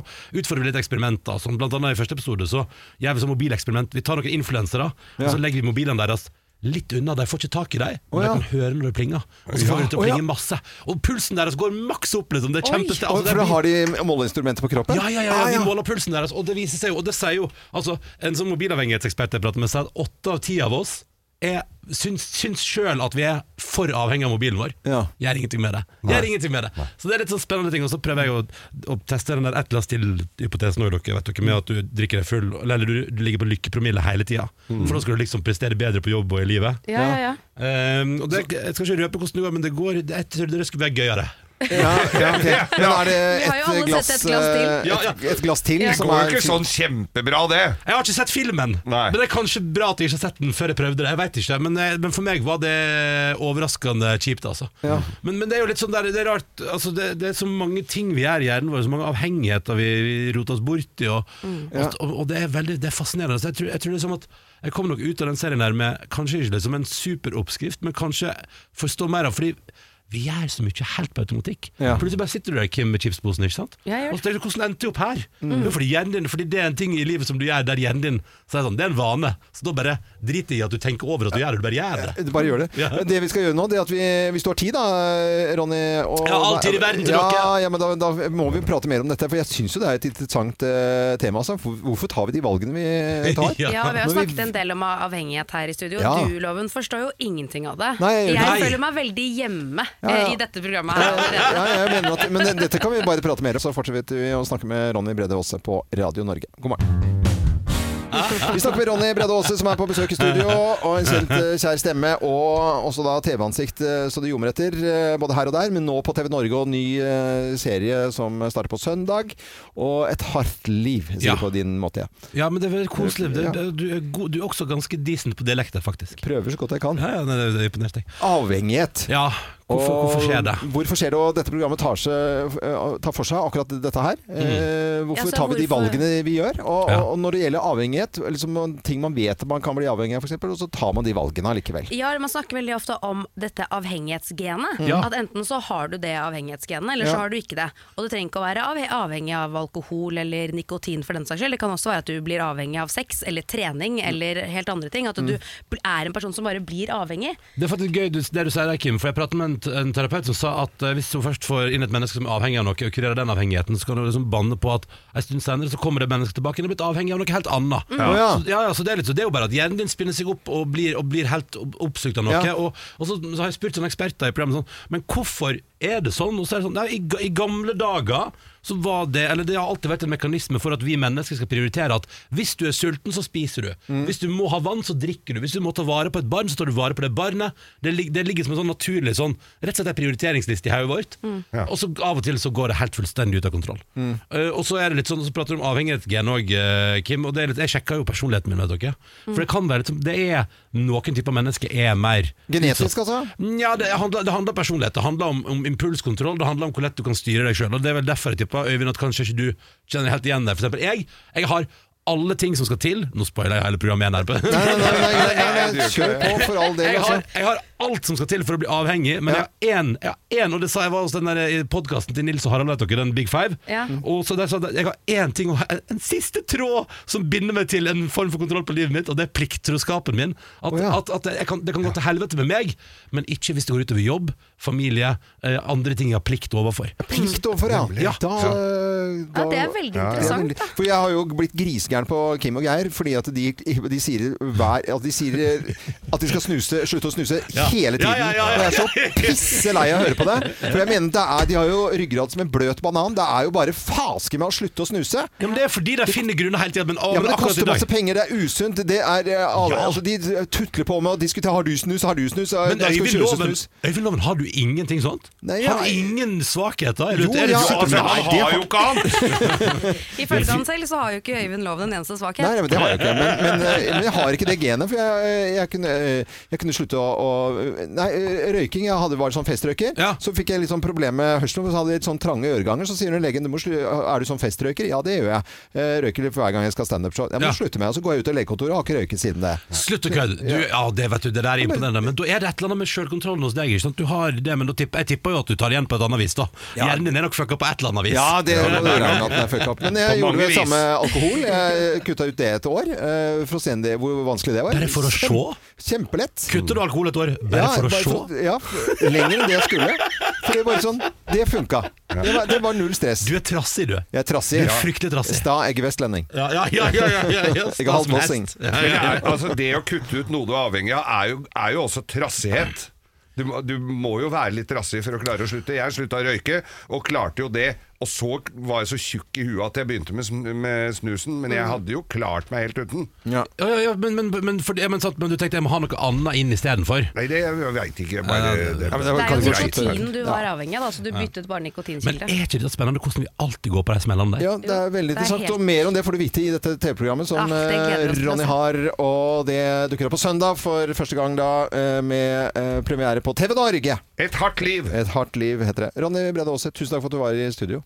utfordrer vi litt eksperimenter. Sånn, blant annet i første episode så gjør vi sånn mobileksperiment. Vi tar noen influensere, og
Ja.
så legger vi mobilene deres litt unna. De får ikke tak i dem, men
Å, ja.
de kan høre når det plinger. Og så får vi dem til å
Å, ja.
plinge masse. Og pulsen deres går maks opp, liksom. Det er kjempestil.
Og for da har de måleinstrumenter på kroppen? Ah,
ja, ja, ja, ja, de måler pulsen deres, og det viser seg jo, og det sier jo altså, En sånn mobilavhengighetsekspert jeg prater med, sier at åtte av ti av oss er, syns, syns sjøl at vi er for avhengig av mobilen vår.
Ja.
Gjør ingenting med det. Gjør ingenting med det. Så det er litt sånn spennende ting, og så prøver jeg å, å teste den der et eller annet stille-hypotesen òg, dere, vet dere, med at du drikker deg full, eller du, du ligger på lykkepromille hele tida. For da skal du liksom prestere bedre på jobb og i livet.
Ja, ja, ja.
Ehm, og det, jeg skal ikke røpe hvordan det går, men det går Jeg tror det skulle være gøyere.
Ja, ja, ok. Men er det
Vi har jo alle
et glass,
sett et glass til.
eh,
Ja, ja.
Et, et glass til
Det
som
går jo
er
ikke sånn kjempebra, det.
Jeg har ikke sett filmen,
Nei.
men det er kanskje bra at jeg ikke har sett den før jeg prøvde det. Jeg vet ikke, Men, eh, men for meg var det overraskende kjipt, altså.
Ja.
Men, men det er jo litt sånn der, det er rart altså det, det er så mange ting vi gjør i hjernen vår, så mange avhengigheter vi, vi roter oss borti, og,
Mm.
og, og, og det er veldig det er fascinerende. Så jeg tror, jeg tror det er som at jeg kom nok ut av den serien her med kanskje ikke liksom en superoppskrift, men kanskje forstå mer av fordi vi gjør så mye helt på automatikk.
Ja.
Plutselig bare sitter du der Kim, med chipsposen, ikke sant?
Ja, jeg gjør
og så tenker du hvordan endte jeg opp her? Det er fordi, hjernen din, fordi det er en ting i livet som du gjør der hjernen din så er det sånn, Det er en vane. Så da bare driter jeg i at du tenker over at du gjør det, du bare gjør det.
Eh, Bare gjør det.
Ja.
Det vi skal gjøre nå, det er at vi, hvis du har tid da, Ronny og,
Jeg har all tid i verden til
ja,
dere.
Ja, men da, da må vi prate mer om dette, for jeg syns jo det er et interessant eh, tema. Altså. Hvor- Hvorfor tar vi de valgene vi tar?
Ja.
Ja, og Vi har jo
Når vi-
snakket en del om avhengighet her i studio.
Ja.
Du, Loven, forstår jo ingenting av det.
Nei, jeg gjør
jeg
ikke det.
føler meg veldig hjemme
Ja, ja.
eh, i dette programmet. her allerede.
Ja, jeg mener at, men dette kan vi bare prate mer om, så fortsetter vi å snakke med Ronny Brede Aase på Radio Norge. God morgen. Vi snakker med Ronny Brede Aase, som er på besøk i studio. Og en kjent, eh, kjær stemme, og også da TV-ansikt eh, så det ljomer etter. eh, Både her og der, men nå på TV Norge og ny eh, serie som starter på søndag. Og Et hardt liv, sier
Ja.
du på din måte. Jeg
Ja, men det er veldig koselig. Det,
Ja.
det, du, er god, du er også ganske decent på dialekter, faktisk.
prøver så godt jeg kan.
Ja, ja, nei, det, det er imponert, jeg.
Avhengighet.
Ja, hvorfor,
Og
hvorfor skjer det?
Hvorfor skjer det, og dette programmet tar, seg, eh, tar for seg akkurat dette her. Eh, Hvorfor
Ja, så
tar vi de
hvorfor-
valgene vi gjør? Og,
Ja.
og, og når det gjelder avhengighet, liksom, ting man vet man kan bli avhengig av f.eks., og så tar man de valgene allikevel.
Ja, Man snakker veldig ofte om dette avhengighetsgenet.
Ja.
At Enten så har du det avhengighetsgenet, eller
Ja.
så har du ikke det. Og Du trenger ikke å være avhe- avhengig av alkohol eller nikotin. for den saks skyld. Det kan også være at du blir avhengig av sex eller trening eller helt andre ting. At du
Mm.
bl- er en person som bare blir avhengig.
Det er faktisk gøy du- det du sier der, Kim. For jeg pratet med en, t- en terapeut som sa at eh, hvis hun først får inn et menneske som er avhengig av noe, og kurerer den avhengigheten, så kan hun liksom banne på at en stund senere så kommer det mennesket tilbake og er blitt avhengig av noe helt annet.
Å, ja.
Så, ja, ja, så det, er litt, så det er jo bare at hjernen din spinner seg opp og blir, og blir helt opp- oppslukt av noe.
Ja.
Og, og så, så har jeg spurt sånne eksperter i programmet sånn Men hvorfor Er det sånn? Og så er det sånn nei, i, ga- I gamle dager så var det Eller det har alltid vært en mekanisme for at vi mennesker skal prioritere at hvis du er sulten, så spiser du. Hvis du må ha vann, så drikker du. Hvis du må ta vare på et barn, så tar du vare på det barnet. Det, lig- det ligger som en sånn naturlig sånn Rett og slett en prioriteringsliste i hodet vårt. Og så av og til så går det helt fullstendig ut av kontroll. Eh, og så er det litt sånn Så prater du om avhengighetsgen òg, Kim. Og det er litt, jeg sjekka jo personligheten min, vet dere. For det kan være litt, sånn- Det er noen typer mennesker er mer
Genetisk, altså?
Nja, det handler, det handler om personlighet. Det handler om, om impulskontroll. Det handler om hvor lett du kan styre deg sjøl. Det er vel derfor jeg tipper Øyvind at kanskje ikke du kjenner helt igjen deg. For eksempel jeg, jeg har alle ting som skal til Nå spoiler jeg hele programmet igjen her. på-
Nei, nei, nei, nei, nei, nei,
du
nei.
gjør
kjør
ikke
på for all del.
jeg, har,
Altså.
jeg har alt som skal til for å bli avhengig, men jeg har én, jeg har én og det sa jeg var hos den der i podkasten til Nils og Harald, vet dere, den Big Five.
Ja.
Og så der sa jeg, jeg har én ting, og en- en siste tråd som binder meg til en form for kontroll på livet mitt, og det er plikttroskapen min. At,
Å, ja.
at, at jeg kan, det kan gå til helvete med meg, men ikke hvis det går utover jobb, familie, eh, andre ting jeg har plikt overfor.
Plikt overfor, ja.
Ja.
Da, da
Ja, det er veldig
Ja, det er
interessant.
veldig- For jeg har jo blitt grisegæren på Kim og Geir, fordi at de, de, sier, hver, at de sier at de skal snuse, slutte å snuse
Ja.
hele tiden.
Ja, ja, ja, ja.
Og jeg er så pisse lei av å høre på det. For jeg mener det er, De har jo ryggrad som en bløt banan. Det er jo bare faske med å slutte å snuse.
Ja, men det er fordi de finner grunner hele tida, men, å,
Ja, men
men
Det
akkurat
koster
i dag
masse penger, det er usunt. Det er, eh, alle,
Ja.
altså, de tutler på med å diskutere har du snus, har du snus, ja,
men
da skal vi
Øyvind
kjøpe
Loven,
snus.
Øyvind Loven, har du ingenting sånt?
Nei,
Har du
jeg-
ingen svakheter? Er
Jo,
du- er det-
jeg-
Ja, men
Nei,
han
det
har
har-
jo ikke annet!
Ifølge han selv så har jo ikke Øyvind Loven en eneste svakhet.
Nei, nei, men det har jeg ikke. Men, men, eh, men jeg har ikke det genet. For jeg, eh, jeg, kunne, jeg kunne slutte å, å Nei, eh, røyking. Jeg hadde, var sånn festrøyker.
Ja.
Så fikk jeg litt sånn problem med hørselen. Så hadde jeg litt sånn trange øreganger. Så sier hun legen du må slu, er du sånn festrøyker. Ja, det gjør jeg. Jeg Røyker litt for hver gang jeg skal standup-show. Jeg må
Ja.
slutte med det. Så går jeg ut av legekontoret og har ikke røyket siden det.
Slutt å kødde. Du, ja, det vet du, det der er imponerende. Men da er det et eller annet med sjølkontrollen hos deg. Ikke sant? Du har det, men da tipper, jeg tipper jo at du tar igjen på et annet vis, da. Hjernen din er nok fucka på et eller annet vis.
Ja, det må du regne at den er fucka opp. Men jeg
På
gjorde
mange
det
vis.
samme med alkohol. Jeg kutta ut det et år, eh, for å se det- hvor vanskelig det var.
Bare for å se?
Kjempe- Kjempelett.
Kutter du alkohol et år bare
Ja,
for å
bare
se?
for- Ja, f- lenger enn det jeg skulle. For det var sånn, det funka. Det var, det var null stress.
Du er trassig, du.
Jeg er trassig.
Du er fryktelig trassig.
Sta egg-vestlending.
Ja, ja, ja, ja, ja, ja, ja.
Jeg er halvmåsing.
Stas med hest. Ja,
Men det,
ja, ja.
er, altså, det å kutte ut noe du er avhengig av, er jo, er jo også trassighet. Du, må- du må jo være litt trassig for å klare å slutte. Jeg slutta å røyke, og klarte jo det. Og så var jeg så tjukk i huet at jeg begynte med, sn- med snusen, men jeg hadde jo klart meg helt uten.
Ja, ja, ja, men, men, men, for, ja, men, sant, men du tenkte jeg må ha noe annet inn istedenfor?
Nei, det veit ikke. Bare, det,
men det var-
Det er jo
Kan vi slutte?
nikotinen du var avhengig av, da, så du byttet bare
Men
nikotinskilde.
er ikke det spennende hvordan vi alltid går på de smellene der?
Ja, det er veldig
det er
interessant.
helt-
Og mer om det får du vite i dette TV-programmet som
Ah, det gleder vi oss
eh,
til å
Ronny
se.
har. Og det dukker opp på søndag for første gang da, eh, med eh, premiere på TV Norge.
Et hardt liv!
Et hardt liv heter det. Ronny Brede Aase, tusen takk for at du var i studio.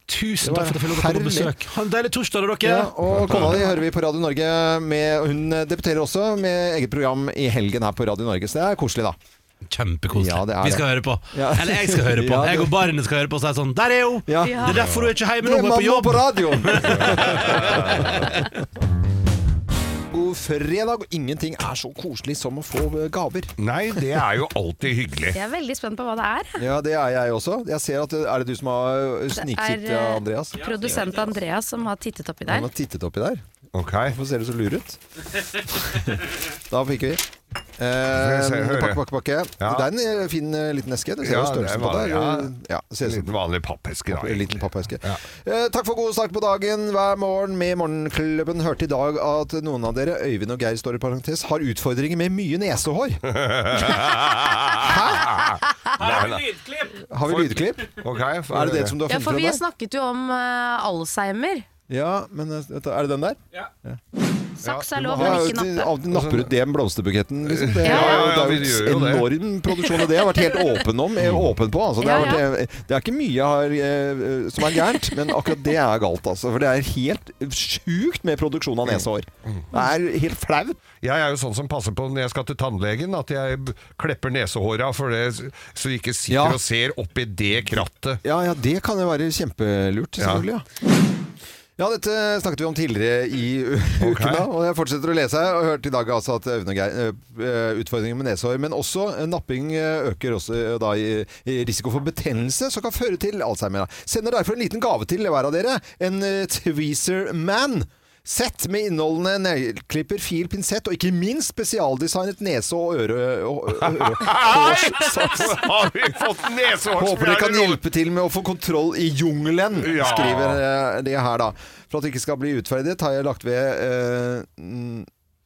Det
Tusen
var
takk for at jeg fikk lov til å komme på
herlig.
besøk. Ha en deilig torsdag, da, dere.
Ja, og kona di hører vi på Radio Norge. Med, hun debuterer også med eget program i helgen her på Radio Norge, så det er koselig, da.
Kjempekoselig.
Ja, det er
vi
det.
skal høre på.
Ja.
Eller jeg skal høre på.
Ja, det-
Jeg og barnet skal høre på og si sånn Der er hun!
Ja.
Det er derfor hun er ikke hjemme
Det
nå,
er
hun er på
mamma
jobb!
på radioen! God fredag, og ingenting er så koselig som å få eh, gaver.
Nei, det er jo alltid hyggelig.
Jeg er veldig spent på hva det er.
Ja, det er jeg også. Jeg ser at Er øh, det du som har sniksittet,
eh,
Andreas?
Produsent Andreas som har tittet oppi
Han
der.
har tittet oppi der.
Ok.
Hvorfor ser du så lur ut? da fikk vi
Skal vi se,
eh,
hører.
pakke, pakke, pakke.
Ja.
Det er en eh, fin eh, liten eske. Du ser jo
Ja, det er
størrelsen på det.
vanlig, ja.
ja, ser
En
ut som
liten vanlig pappeske, da.
En liten
egentlig.
pappeske.
Ja.
Eh, takk for god start på dagen hver morgen med Morgenklubben. Hørte i dag at noen av dere, Øyvind og Geir står i parentes, har utfordringer med mye nesehår.
Nei, nei.
Har vi lydklipp?
Ok, for,
Er det det som du har
Ja,
funnet
for
fra
vi
deg?
snakket jo om eh, Alzheimer.
Ja, men eh, er det den der?
Saks
Ja,
er
du må
lov, men
Ja,
ikke
de-
nappe.
av- de napper ut det med blomsterbuketten. Liksom. Det, er
Ja,
ja, ja,
jo-
vi
det er
gjør
jo
jo
en
det.
enorm produksjon, og det har jeg vært helt åpen om. eh, Åpen på, altså. det, har
Ja, ja.
vært, eh, det er ikke mye jeg har, eh, som er gærent, men akkurat det er galt. Altså, for det er helt sjukt med produksjon av nesehår.
Mm.
Det er helt flaut.
Jeg er jo sånn som passer på når jeg skal til tannlegen, at jeg b- klepper nesehåra for det, s- så de ikke sitter
Ja.
og ser opp i det krattet.
Ja, ja, det kan jo være kjempelurt,
Ja.
selvfølgelig. Ja. Ja, dette snakket vi om tidligere i u-
Ok.
uken, da, og jeg fortsetter å lese. her, og hørte i dag altså at Øyvind og Geir, eh, utfordringer med nesehår, men også eh, napping eh, øker også eh, da i, i risiko for betennelse, som kan føre til Alzheimer. da. Sender derfor en liten gave til hver av dere, en eh, Tweezer Man. Sett med innholdende negleklipper, fil, pinsett og ikke minst spesialdesignet nese- og øre... Og, ø- ø- hårsaps.
Har vi fått
Håper det kan
nesehårsfjerne?
hjelpe til med å få kontroll i jungelen,
Ja.
skriver eh, det her, da. For at det ikke skal bli utferdet, har jeg lagt ved eh, n-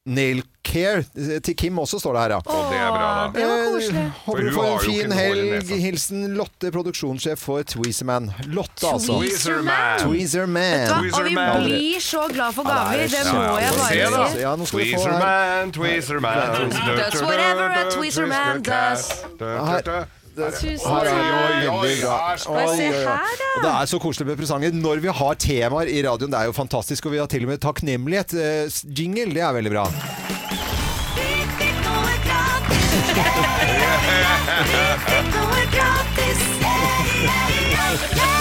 Nail Care eh, til Kim også, står det her, ja.
Og det er bra, da.
Det var koselig.
Eh, Håper
For
du
hun
får
har
en
jo
fin
ikke noe hår i
helg.
nesa.
Hilsen Lotte, produksjonssjef for Tweezerman. Lotte, altså.
Tweezerman.
Hva?
Tweezerman.
Tweezer
Og vi
Man.
blir så glad for
Ja, det
gaver,
er
det
så-
må jeg
ja,
Se, da.
bare si.
Ja, nå skal vi få
Tweezer
her.
man, tweezer man.
That's whatever a tweezer man does.
Her.
Tusen
Oi,
takk.
oi, oi,
Oi,
bra.
her
Oi,
skal-
oi,
Se
oi.
her, da.
Og det er så koselig med presanger når vi har temaer i radioen. Det er jo fantastisk, og vi har til og med takknemlighet. eh, s- Jingle, det er veldig bra.
Vi fikk noe gratis. Vi fikk noe gratis. Yeah, yeah, yeah.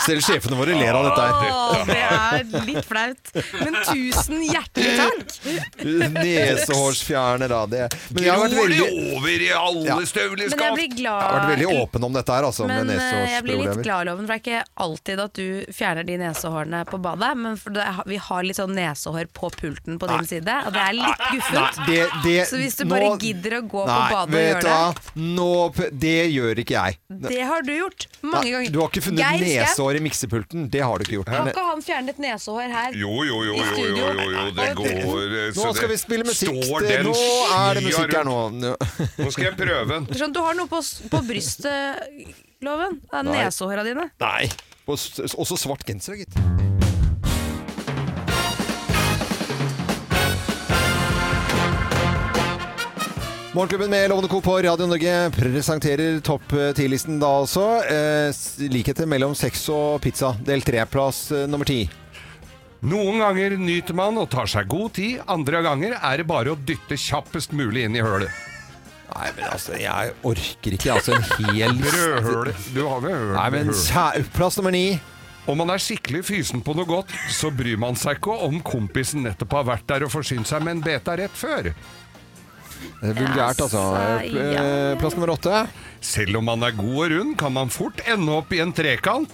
Selv sjefene våre ler av dette her.
Å, det er litt flaut. Men tusen hjertelig takk.
Nesehårsfjerner, da. Det. Men jeg har vært
Gror det
veldig,
over i alle
Men jeg
støvleskap?
blir
jeg har
glad
vært veldig åpen om dette her, altså.
Men
med
eh, jeg blir litt
nesehårsproblemer.
glad, Loven, for det er ikke alltid at du fjerner de nesehårene på badet. Men for det, vi har litt sånn nesehår på pulten på din side, og det er litt guffent.
Det, det,
Så hvis du bare gidder å gå på
Nei,
badet og
vet
gjøre
du hva? Nå, p- det gjør ikke jeg.
Det har du gjort mange
Nei,
ganger.
Du har ikke funnet
Geir Skau,
nesehår i miksepulten. Det har du ikke gjort.
Har
Men- eh,
ikke han fjernet nesehår her?
Jo, jo, jo,
I
jo, jo,
studio.
jo, jo, det går eh, så
Nå skal
det-
vi spille musikk.
Står
Det-
den
Nå er det
skya
musikk her
rundt?
nå. Nå-
Nå skal jeg prøve den.
Sånn, du har noe på, s- på brystet, Loven. Det er
Nei.
nesehåra dine.
Nei. Og s- Også svart genser, gitt. Morgenklubben med Lovende Co. på Radio Norge presenterer topp 10-listen da også. Eh, s- likheter mellom sex og pizza. Del 3-plass eh, nummer 10.
Noen ganger nyter man og tar seg god tid, andre ganger er det bare å dytte kjappest mulig inn i hølet.
Nei, men altså, jeg orker ikke altså en hel
Brødhølet. Du har vel hørt
Nei, men
høl.
sæ- plass nummer 9.
Om man er skikkelig fysen på noe godt, så bryr man seg ikke om kompisen nettopp har vært der og forsynt seg med en beta rett før.
Det er Vulgært, altså. Eh, Plass nummer 8.
Selv om man er god og rund, kan man fort ende opp i en trekant.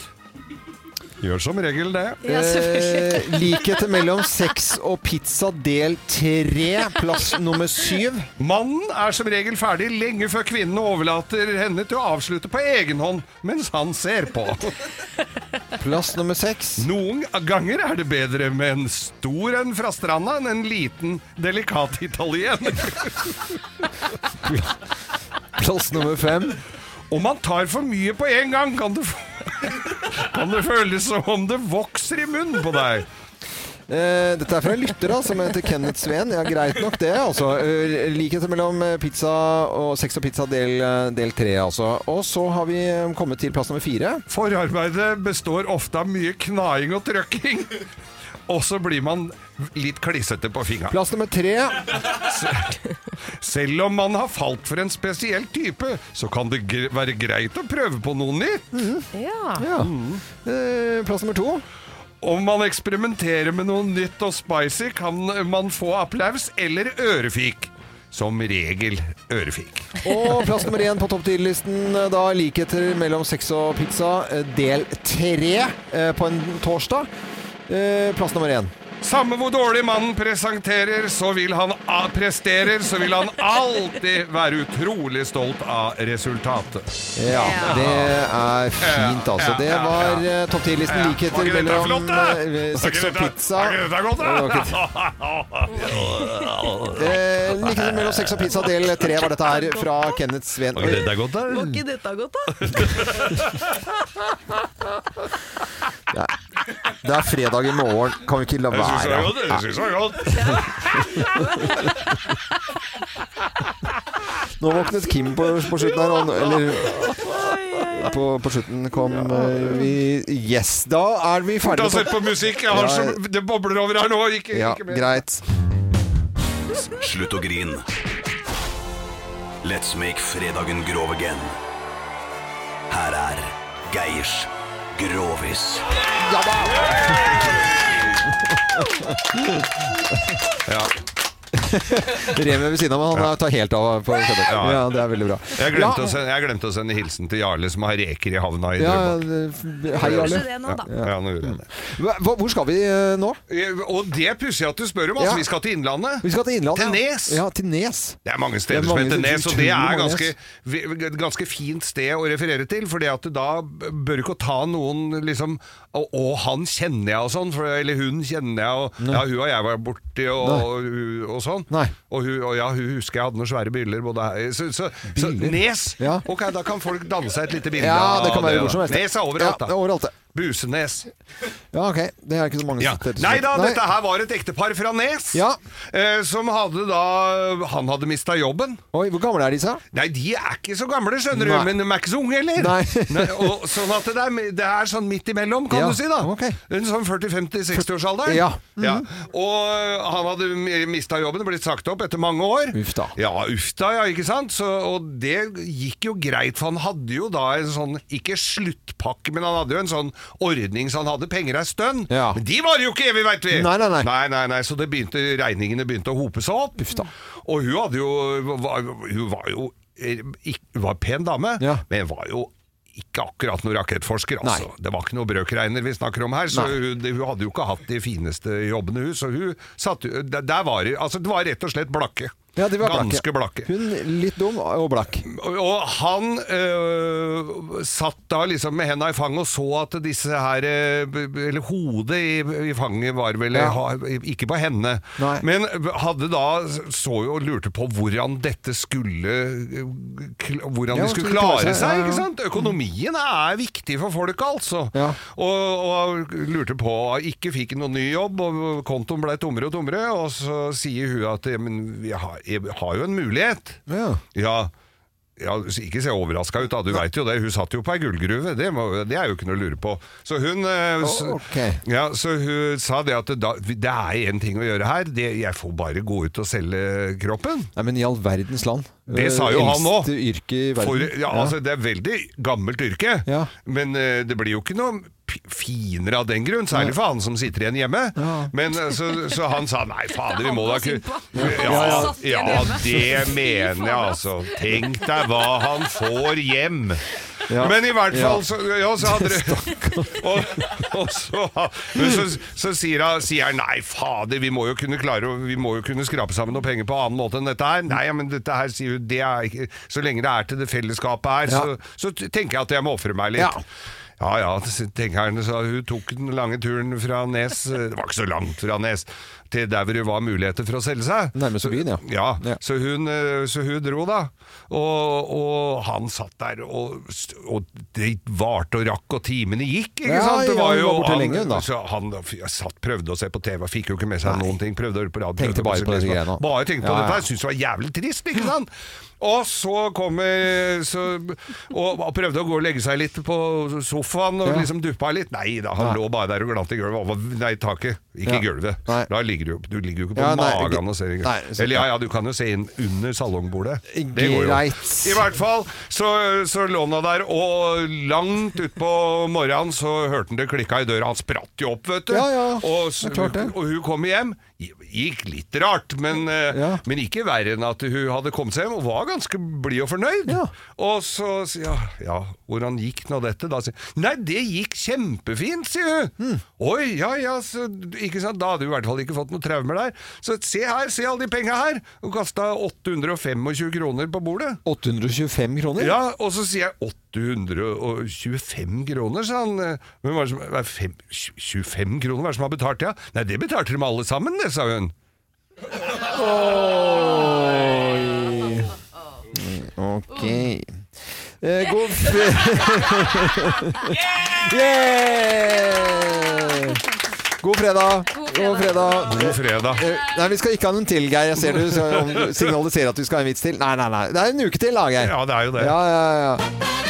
Gjør som regel det.
Eh, likheter mellom sex og pizza del tre, plass nummer syv.
Mannen er som regel ferdig lenge før kvinnen overlater henne til å avslutte på egen hånd mens han ser på.
Plass nummer seks.
Noen ganger er det bedre med en stor en fra stranda enn en liten, delikat italiener.
Plass nummer fem.
Om man tar for mye på en gang, kan det, kan det føles som om det vokser i munnen på deg.
Eh, dette er fra en lytter da, som heter Kenneth Sveen. Ja, greit nok det, altså. Eh, likheter mellom eh, pizza og sex og pizza del, eh, del tre, altså. Og så har vi eh, kommet til plass nummer fire.
Forarbeidet består ofte av mye knaing og trøkking. Og så blir man litt klissete på fingra.
Plass nummer tre.
Selv om man har falt for en spesiell type, så kan det gre- være greit å prøve på noe nytt.
Ja. Eh, plass nummer to.
Om man eksperimenterer med noe nytt og spicy, kan man få applaus eller ørefik. Som regel ørefik.
Og plass nummer én på topp 10-listen, da likheter mellom sex og pizza, eh, del tre eh, på en torsdag. Eh, Plass nummer én.
Samme hvor dårlig mannen presenterer, så vil han a- presterer, så vil han alltid være utrolig stolt av resultatet.
Ja, det er fint, altså. Det var eh, topp 10-listen
Var
likheter
ikke dette
mellom
flott, da?
eh,
Var
sex
ikke
og
dette-
pizza.
Var ikke dette godt, da?
Det var ikke- Eh, Likheter mellom sex og pizza del tre var dette her fra Kenneth Sveen.
Var ikke dette godt, da?
Var ikke dette godt, da?
Det er fredag i morgen, kan vi ikke la
Jeg syns det
være?
var godt. Jeg synes det var godt.
Nå våknet Kim på, på slutten her. Han, eller på, på slutten kom eh, vi Yes, da er vi
Fort
ferdige.
har sett
med
på musikk. Jeg har
Ja,
så, det bobler over her nå. Ikke,
topp- Ja,
ikke mer.
greit.
Slutt å grin. Let's make fredagen grov again. Her er Geirs Grovis.
Ja da!
Ja.
Remi ved siden av meg, han tar helt av på kødder.
Ja.
Ja, det er veldig bra.
Jeg glemte,
Ja.
å sende, jeg glemte å sende hilsen til Jarle som har reker i havna i
Ja,
Drøbak.
det- hei,
Gjorde
Jarle.
du det nå, da?
Ja.
Ja, nå gjorde jeg det.
Hva- hva- Hvor skal vi eh, nå?
Eh, Og det er pussig at du spør om. Altså,
Ja.
Vi skal til Innlandet.
Vi skal til Innlandet.
Til Nes.
Ja, til Nes.
Det er mange steder
Det er mange
som heter
steder,
Nes, og det er
utrolig mange
ganske, vi- et ganske fint sted å referere til. For da bør du ikke ta noen liksom Å, å, han kjenner jeg, og sånn. For, eller hun kjenner jeg, og
Nei.
ja, hun og jeg var borti, og,
Nei.
og, og, og sånn. Og, hun, og ja, hun husker jeg hadde noen svære byller både her Så, så, så
Byller?
Nes! Ok, da kan folk danse et lite bilde
Ja, det kan være
da.
hvor som helst.
Nes er
Ja,
overalt, da.
det er overalt, det.
Busenes.
Ja, ok. Det er ikke så mange
Ja.
steder.
Nei da, dette her var et ektepar fra Nes eh, som hadde da Han hadde mista jobben.
Oi, Hvor gamle er disse?
Nei, de er ikke så gamle, skjønner
Nei.
du. Men de er ikke så unge heller.
Nei.
og, sånn at det er, det er sånn midt imellom, kan
Ja,
du si, da. En sånn 40-50-60-årsalder.
Ja.
Og eh, han hadde mista jobben og blitt sagt opp etter mange år.
Uff da.
Ja, uff da, ja, ikke sant? Så, og det gikk jo greit, for han hadde jo da en sånn, ikke sluttpakke, men han hadde jo en sånn ordning, så han hadde penger ei stønn. Men de var jo ikke evig, veit vi!
Nei, nei, nei.
nei, nei, nei så det begynte, regningene begynte å hope seg opp. Og hun hadde jo var, Hun var jo eh, ikk- var en pen dame, men var jo ikke akkurat noen rakettforsker, altså. Det var ikke noe brøkregner vi snakker om her, så
Nei.
hun, det- hun hadde jo ikke hatt de fineste jobbene, hun. Så hun satt jo- der- Der var det Altså, det var rett og slett blakke.
Ja, de var
Ganske blakke.
Hun litt dum og blakk.
Og- Og han øh, satt da liksom med henda i fanget og så at disse her øh, b- b- Eller hodet i, i fanget var vel
Ja.
ha, Ikke på henne, men hadde da så jo og lurte på hvordan dette skulle øh, kl- Hvordan
Ja,
de skulle
skulle klare
klare
seg,
seg,
ja, ja.
ikke sant? Økonomien er viktig for folk, altså. Og, og lurte på Ikke fikk noen ny jobb, og kontoen ble tommere og tommere, og så sier hun at «Ja, Men vi har, jeg har jo en mulighet.
Ja.
Ja, ja så ikke se overraska ut, da. Du veit jo det. Hun satt jo på ei gullgruve. Det, må, det er jo ikke noe å lure på. Så hun, eh, s- ja, så hun sa det at da, det er én ting å gjøre her. Det, jeg får bare gå ut og selge kroppen.
Nei, men i all verdens land. Eh,
Det sa jo han
Eldste
òg.
yrke i verden.
For, ja, altså, det er veldig gammelt yrke, men eh, det blir jo ikke noe p- finere av den grunn, særlig for han som sitter igjen hjemme. Men, eh, så, så han sa nei, fader, vi må da ikke ja, ja, ja, det mener jeg altså. Tenk deg hva han får hjem.
Ja.
Men i hvert
Ja.
fall så, ja, så hadde det og, og så, men så, så sier han sier han, nei, fader, vi må jo kunne klare å- Vi må jo kunne skrape sammen noe penger på annen måte enn dette her. Nei, ja, men dette her sier hun det er ikke, Så lenge det er til det fellesskapet her, så, så t- tenker jeg at jeg må ofre meg litt.
Ja.
Ja ja, så tenker han, så hun tok den lange turen fra Nes eh, Det var ikke så langt fra Nes til der hvor det var muligheter for å selge seg.
Nærmeste byen, ja.
Ja, Så, hun, eh, så hun dro da og, og han satt der og, st- og det varte og rakk og timene gikk ikke
Ja,
sant? Det
ja, hun var borte lenge, hun, da.
Så han da f- satt, prøvde å se på TV Fikk jo ikke med seg noen ting Prøvde å høre på radio
Tenkte
prøvde å
bare
se
på disse
lese-
greiene.
Bare tenkte på
Ja, ja.
dette Jeg syntes det var jævlig trist, ikke sant? Og så kommer så, og, og prøvde å gå og legge seg litt på sofaen Og
Ja.
liksom duppa litt Nei da, han
Nei.
lå bare der og glatt i gulvet Han var- Nei, taket, ikke i
Ja.
gulvet Da ligger du, du ligger jo ikke på
Ja, nei,
magen og ser i
nei,
gulvet
så-
Eller ja, ja, du kan jo se inn under salongbordet Det går jo
Greit.
I hvert fall så, så lå han der, og langt utpå morgenen så hørte han det klikka i døra. Han spratt jo opp, vet du.
Ja, ja,
og, så,
det er klart det.
og hun kom hjem. Gikk litt rart, men, eh, men ikke verre enn at hun hadde kommet seg hjem og var ganske blid og fornøyd. Og så sier ja, ja, hvordan gikk nå dette? Da sier hun, Nei, det gikk kjempefint, sier hun.
Hmm.
Oi, ja ja, så, ikke sant? da hadde hun i hvert fall ikke fått noen traumer der. Så se her, se alle de penga her! Hun kasta 825 kroner på bordet.
825 kroner?
Ja, og så sier jeg 825 kroner, sa han. Men hva er det som, hva er fem, 25 kroner, hva er det som har betalt det? Ja? Nei, det betalte de alle sammen, det, sa hun.
Oi. Ok. Eh, god f... Yeah! God fredag. God fredag.
God fredag.
Eh, Nei, vi skal ikke ha noen til, Geir. Jeg ser du så- signaliserer at vi skal ha en vits til. Nei, nei, nei. Det er en uke til, da, Geir.
Ja, det er jo det.
Ja, ja, ja.